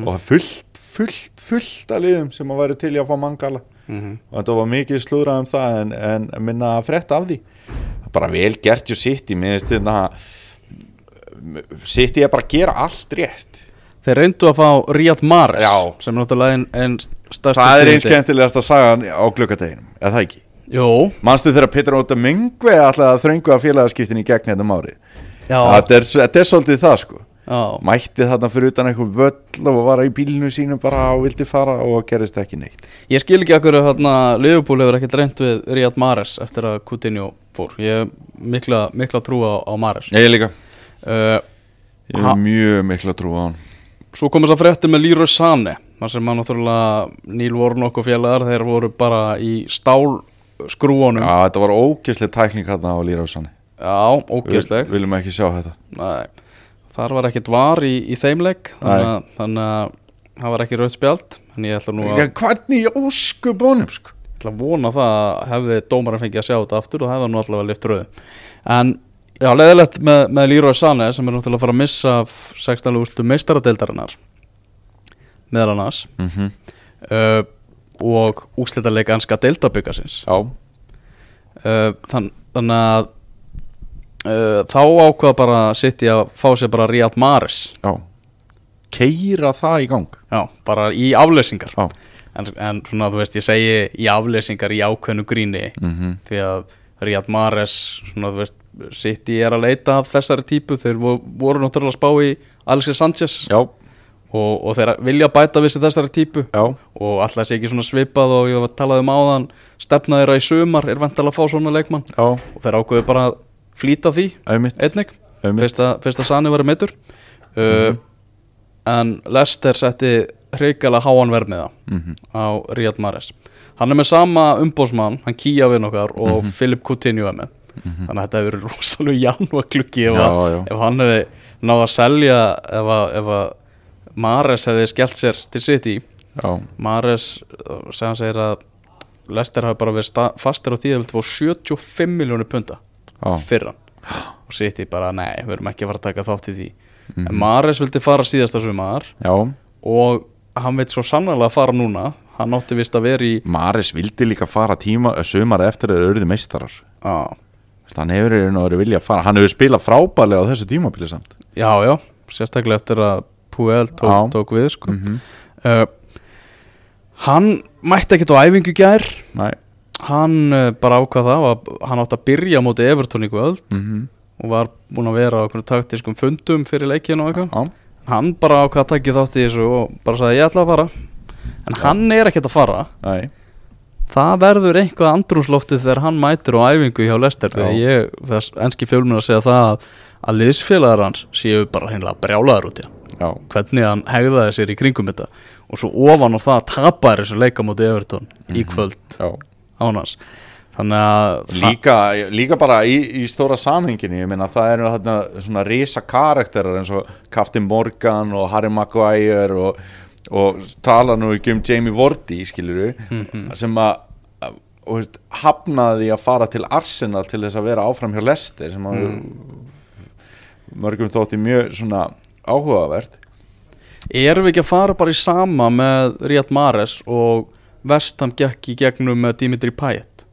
og fullt, fullt, fullt að liðum sem að væri til í að fá Mangala
Mhm.
og þetta var mikið slúðrað um það en, en minna að frétta af því bara vel gert ju sitt í minnst þetta sitt í að hérna, bara gera allt rétt
þeir reyndu að fá Ríad Mares
Já.
sem er náttúrulega einn ein stærsti
það er einn
tíðindi.
skemmtilegasta sagan á glöggadeginum eða það ekki
Jú,
manstu þegar Petra Óta Mingve ætlaði að þröngu að félagaskiptin í gegn hérna um árið
já,
þetta er, þetta er svolítið það sko
já.
mætti þarna fyrir utan einhver völl og var í bílinu sínum bara og vildi fara og gerist ekki neitt
ég skil ekki akkur að hérna, Liverpool hefur ekkert reynd við Ríad Mares eftir að Coutinho fór ég hef mikla, mikla trú á, á Mares
Ég líka
uh,
Ég hef
Ha-
mjög mikla trú á hann
svo komið þess að fréttir með Leroy Sané þar sem hann náttúrulega Neil Warnock og félagar þeir voru bara í stál skrúanum
Já, þetta var ógeðslega tækling hérna á Lýrásanni
já ógeðsleg
Vil, Viljum ekki sjá þetta
Nei, þar var ekkert var í, í þeim leik þannig að- þannig að það var ekki rauð spjald en ég ætla nú að,
Já, Hvernig í ósköpunum sko
ætla að vona það að hefði dómarinn fengið að sjá þetta aftur og það hefði hann nú allavega lift rauð en já, leðilegt með, með Leroy Sané sem er náttúrulega að fara að missa af 16. úrslutum meistaradeildarinnar meðal annars
mm
uh, og úrslitaleik anska deildabyggasins
Já
uh, þann, þannig að uh, þá ákvað bara City að fá sér bara Riyad Mahrez
Já Keira það í gang
Já, bara í afleysingar
Já.
en, en svona þú veist, ég segi í afleysingar í ákveðnu gríni
Mhm.
því að Ríad Mares svona þú veist, City er að leita að þessari típu þeir vo- voru náttúrulega að spá í Alexis Sanchez
Já
og, og þeir vilja bæta við sig þessari típu
já,
og alltaf sé ekki svona svipað og ég talaði um áðan stefna þeirra í sumar er vantalega að fá svona leikmann
já,
og þeir ákveðu bara að flýta því
auðvitað
einnig,
Einmitt. Mhm.
fyrst að, fyrst að Sani var meittur uh, en Lester setti hreikala háan vermiða
Mhm.
á Riyad Mahrez hann er með sama umbósmann, hann kýja við nokkar og
Mhm.
Philip Coutinho er með þannig að þetta hefur verið rosalega janúarklukki ef,
Já,
að-
já.
ef hann hefði náð að selja ef að, ef að Mahrez hefði skellt sér til sitt í
já,
Mares sem hann segir að Lester hafi bara verið sta- fastir á því að það var 75 miljónu punta
Já.
fyrir hann og City bara nei, við erum ekki að fara að taka þátt í því en Mares vildi fara síðasta sumar
já
og hann veit svo sannlega að fara núna hann átti vist að vera í
Maris vildi líka fara tíma eh, sumar eftir að auðvitað meistarar
á,
Þess, hann hefur í raun og verið vilja að fara hann hefur spilað frábælega á þessu tímabili samt
já, já, sérstaklega eftir að Puel
Já. Mhm.
tók, tók við sko. uh, hann mætti ekkert á æfingu í gær
Nei,
hann eh, bara ákvað það að hann átti að byrja á móti Everton í kvöld
Mhm.
og var búinn að vera á einhverjum taktiskum fundum fyrir leikin og eitthvað
já,
hann bara ákvað að takja þátt í þessu og bara sagði ég ætla að fara en hann er ekkert að fara
nei
það verður eitthvað andrúnsloftið þegar hann mætir á æfingu hjá Lester þegar ég, þess enski fjölmur að segja það að, að liðsfélagar hans séu bara hinnlega brjálaður út í hann
já,
hvernig hann hegðaði sér í kringum þetta og svo ofan á það tapar þessu leikamóti Everton í kvöld
já
án hans þannig að það-
Líka, líka bara í, í stóra samhenginu, ég meina það eru þarna svona risa karakterar eins og Captain Morgan og Harry Maguire og, og tala nú ekki um Jamie Vorty, skilur
Mhm.
sem að og, veist, hafnaði að fara til Arsenal til þess að vera áfram hjá Leicester sem að
Mm.
mörgum þótti mjög svona áhugavert
Erum við ekki að fara bara í sama með Riyad Mahrez og Vestham gekk í gegnum með Dimitri Payet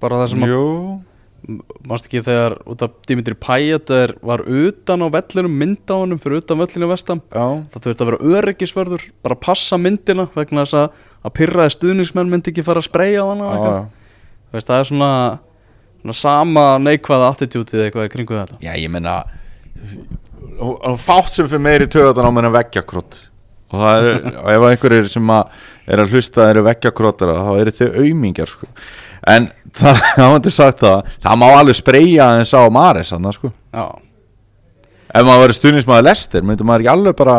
bara það sem að
Jú,
mannst ekki þegar út af Dimitri Payet er, var utan á vellinum mynda á honum fyrir utan vellinu Vestham
já,
það þurfti að vera öryggisvörður bara að passa myndina vegna þess að að pyrraði stuðningsmenn myndi ekki fara að spreja á hana og
já,
eitthvað.
já.
Þú veist, það er svona, svona sama neikvæða attitútið eitthvað í kringu þetta
Já, ég meina og- og fátt sem fyrir meiri töðan á meina veggjakrótt og það er, og ef einhverjir sem að er að hlusta eru veggjakróttara þá eru þau aumingjar sko. en það, það var sagt það það má alveg spreyja aðeins á Maris annars, sko.
Já
ef maður verið stuðnismæður lestir myndum maður ekki alveg bara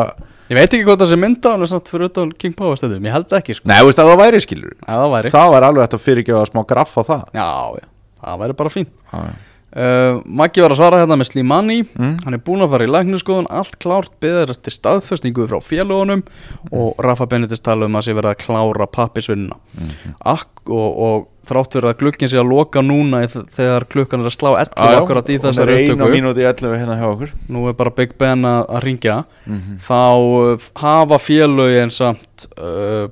Ég veit ekki hvort það sé mynda hann samt fyrir utan King Power stundum, ég held það ekki sko
nei, þú veist að það væri skilur
Ef það væri
það var alveg hægt að fyrirgefa smá graff á það
Já, já, það væri bara fínt
Já, já.
uh, Maggi var að svara hérna með Slimani
Mm.
Hann er búinn að fara í lækniskoðun Allt klárt beðar eftir staðföstingu frá félagunum
Mm.
Og Rafa Benedis tala um að sé verið að klára pappisvinnuna
Mhm.
Akk og, og þrátt fyrir að glukkin sé að loka núna í þ- Þegar klukkan er að slá 11
Já, já,
akkurat í
hún
þessari
er eina
upptöku.
mínúti 11 hérna hjá okkur
nú er bara Big Ben að, að ringja Mhm. þá uh, hafa félögin samt uh,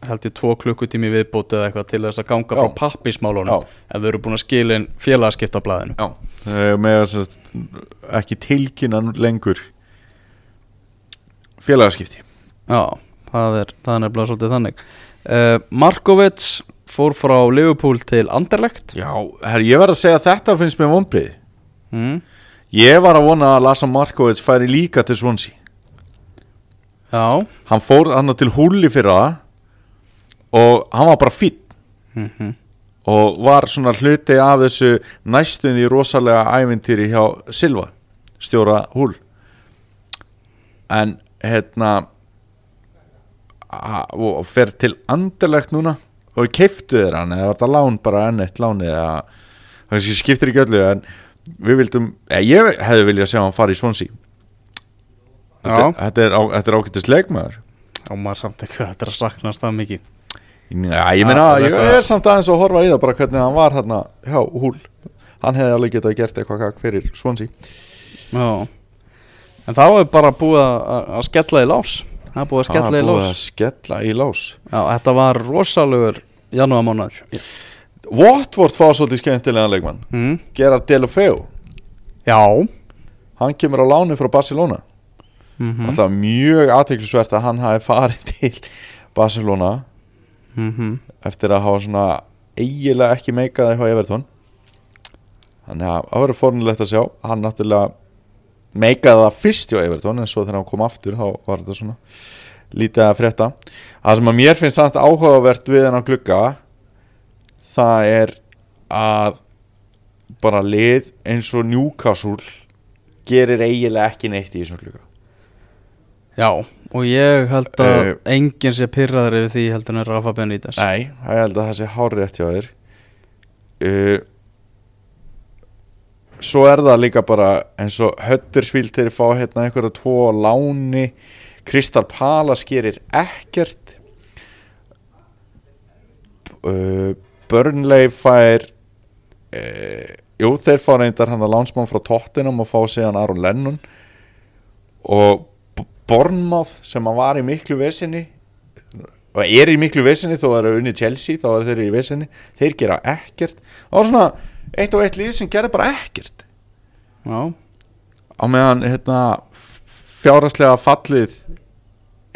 held ég tvo klukkutími viðbóti eða eitthvað til þess að ganga frá
Já.
pappismálunum
Já.
ef þau eru búin að skila inn félagaskiptablaðinu
já. Eh, með þess að ekki tilkynna lengur félagaskipti
Já, það er, það er nefnilega svolítið þannig uh, Markovits fór frá Liverpool til Anderlegt
já, her, ég verð að segja að þetta finnst mér vonbrið
mm.
ég var að vona að Lasa Markovits færi líka til Swansea
Já
hann fór hann til húli fyrir það og hann var bara fýtt
Mhm.
og var svona hluti af þessu næstunni rosalega ævintýri hjá Silva, stjóra húl en hérna a- og fer til andalegt núna og keiftu þér hann eða var þetta lán bara enn eitt lán eða kannski skiptir ekki öllu en við vildum, eða ég hefði viljað sjá hann fara í Swansea
Já,
þetta, þetta er, á- þetta er ágættis leikmaður
og maður samt ekki að þetta er að saknast það mikið
Já, ég
Já,
meina,
þú
ég
veist að-
er samt aðeins að horfa í það bara hvernig hann var hérna hjá húl hann hefði alveg getað gert eitthvað kakk fyrir svonsi
Já En þá er bara búið að, að- að skella í lás Það er búið að skella í lás
að skella í lás
Já, þetta var rosalegur janúarmánaður
Watford fá svolítið skemmtilegan leikmann
mm.
Gerard Delofeo,
Já
hann kemur á láni frá Barcelona
mm
mm. alltaf mjög aðteklisvert að hann hafi farið til Barcelona mhm. eftir að hafa svona eiginlega ekki meikað eitthvað Everton þannig að það verður fornilegt að sjá hann náttúrulega meika það fyrst hjá Everton en svo þegar hann kom aftur þá var þetta svona lítið að frétta það sem að mér finnst samt áhugavert við hennan glugga það er að bara lið eins og Newcastle gerir eiginlega ekki neitt í þessum glugga
Já, og ég held að
Eh.
enginn sé pyrraður yfir því heldur en Rafa Benítez
Nei, ég held að það sé hárið eftir á þér uh, Svo er það líka bara eins og Höttersvíld þeir fá hérna einhverja tvo á láni Kristal Palas gerir ekkert uh, Burnley fær uh, Jú, þeir fá reyndar hann að lánsmann frá Tottenham og fá síðan Aron Lennon og B- Bournemouth sem að var í miklu vesinni og er í miklu vesinni þó að eru unni Chelsea þá eru þeir í vesinni, þeir gera ekkert það var svona eitt og eitt lið sem gerði bara ekkert
Já,
á meðan hérna fjáraslega fallið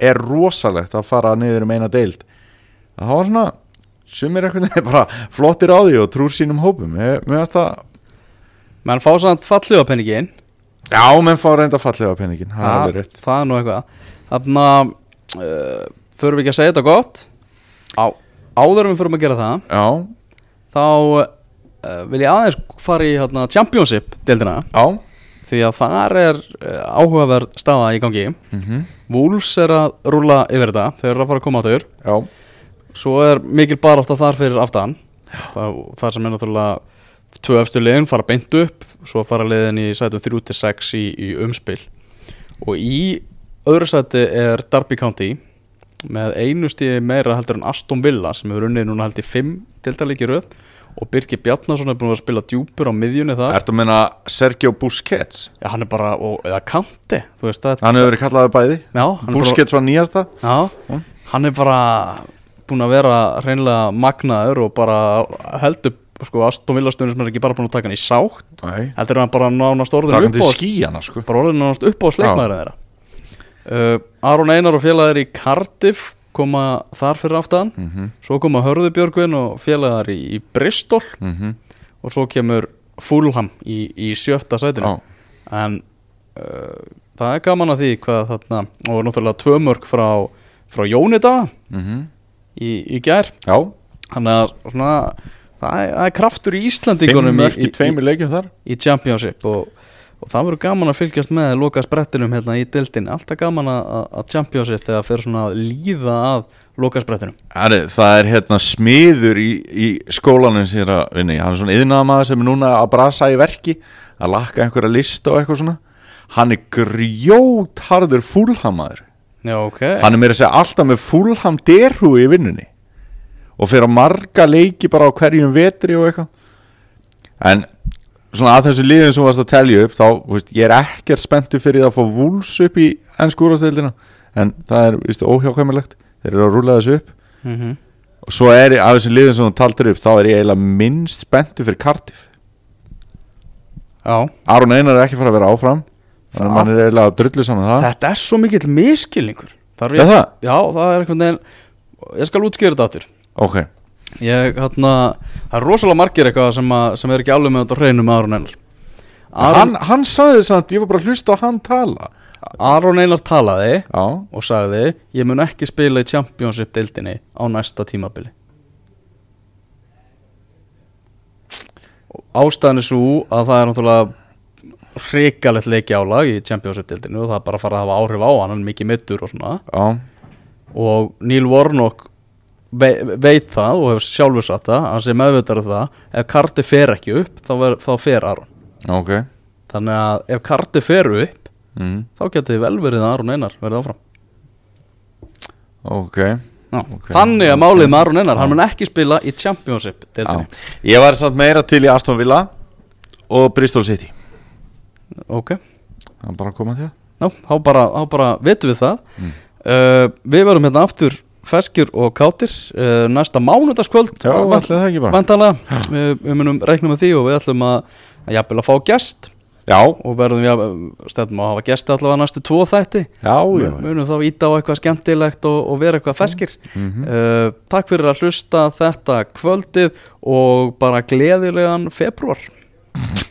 er rosalegt að fara niður um eina deild það var svona sumir einhvern veginn bara flottir á því og trúr sínum hópum ég, mér finnst það
menn fá samt fallið á penningin
já, menn fá reynda fallið á peningin það er alveg rétt
Það er nú eitthvað Þannig að uh, förum við ekki að segja þetta gott Á, áður en við förum að gera það
já,
Þá uh, vil ég aðeins fara í hérna, Championship deildina
já,
Því að þar er uh, áhugaverð staða í gangi
mm
Wolves er að rúla yfir þetta Þeir eru að fara að koma áttur
já
Svo er mikil barátta þar fyrir aftan þar, þar sem er náttúrulega tvö eftir liðin fara beint upp svo fara liðin í sætum 3-6 í, í umspil og í öðru sæti er Derby County með einu stíði meira heldur en Aston Villa sem hefur unnið núna heldur 5 deltalíki röð og Birgir Bjarnason er búin að vera að spila djúpur á miðjunni þar
ertu að menna Sergio Busquets
Já, hann er bara, og, eða Kanti þú veist það,
hann hefur verið kallaðið bæði
já, hann er bara- Hm?
Busquets var nýjasta
Já,
Mm.
hann er bara búin að vera reynilega magnaður og bara heldur sko, Aston Villa stundur sem er ekki bara búin að taka hann í sátt
Nei,
heldur hann bara nánast
það
orðin
er til
uppáhalds
skíjana sko
bara orðin nánast uppáhalds leikmaður þeirra uh, Aron Einar og félagar í Cardiff koma þar fyrir aftan
mm -hmm.
svo koma Hörðubjörgvin og félagar í, í Bristol
mhm,
og svo kemur Fulham í, í sjötta sætinu
Já,
en uh, það er gaman að því hvað þarna og náttúrulega tvö mörg frá, frá Jónida
mhm.
í, í gær
já
þannig að svona, það, er, það er kraftur í
fimm
Íslandingunum í,
mörk í
í, í,
tveimur leikjum þar
í Championship og, og það verður gaman að fylgjast með loka sprettinum hérna í dildin alltaf gaman að, að- að Championship þegar fyrir svona að líða að loka sprettinum
Herri, Það er hérna smiður í, í skólanum sem ég er að vinna í Hann er svona yðnaðamaður sem er núna að brasa í verki að lakka einhverja list og eitthvað svona Hann er grjótharður fúlhamaður
Já, ok,
Eh. Hann er meira að segja alltaf með fúlham derhú í vinnunni og fyrir að marga leiki bara á hverjum vetri og eitthvað en svona að þessu liðum sem varst að telja upp þá, þú veist, ég er ekkert spenntu fyrir það að fá vúls upp í ennskúrasteildina en það er, vístu, óhjákvæmilegt þeir eru að rúla þessu upp
mm
og svo er, af þessu liðum sem þú taldir upp þá er ég eiginlega minnst spenntu fyrir Cardiff
já
Aron Einar er ekki fara að vera áfram þannig að mann er eiginlega drullu saman um það,
Þetta er svo mikill miskilningur Þar
Er
ég,
það?
Já, það er einhvern veginn Ég skal útskýra þetta áttur
ok,
Ég, hérna, það er rosalega margir eitthvað sem, að, sem er ekki alveg með þetta á hreinu með Aron Einar
hann,
Aron,
hann sagði þess að ég var bara að hlusta á hann tala
Aron Einar talaði
já,
og sagði ég mun ekki spila í Championship deildinni á næsta tímabili Og Ástæðan er svo að það er náttúrulega hrikalegt leiki álag í Championship deildinni og það er bara að fara að hafa áhrif á hann, hann er mikið middur og svona
já
og Neil Warnock ve veit það og hefur sjálfur satt það hann sé meðvitað um það ef Cardiff fer ekki upp þá, ver, þá fer Aron
Ok
þannig að ef Cardiff fer upp
mm.
þá geti vel verið að Aron Einar verið áfram
Ok
Ná,
Ok.
þannig að málið með Aron Einar hann mun ekki spila í Championship
Já.
deildinni
Ég var samt meira til í Aston Villa og Bristol City
ok,
Það er bara að koma til það
Ná, þá bara, þá bara vitum við það
Mm.
uh, við verum hérna aftur feskir og kátir uh, næsta mánudaskvöld
Já,
og
ætli það ekki bara.
vantanlega, við, við munum reikna með því og við ætlum að, að jafnvel að fá gest
Já,
og verðum við að stefnum á að hafa gesti allavega næstu tvo þætti
já, já
Mun- munum þá íta á eitthvað skemmtilegt og, og vera eitthvað feskir
Mhm.
uh, takk fyrir að hlusta þetta kvöldið og bara gleðilegan februar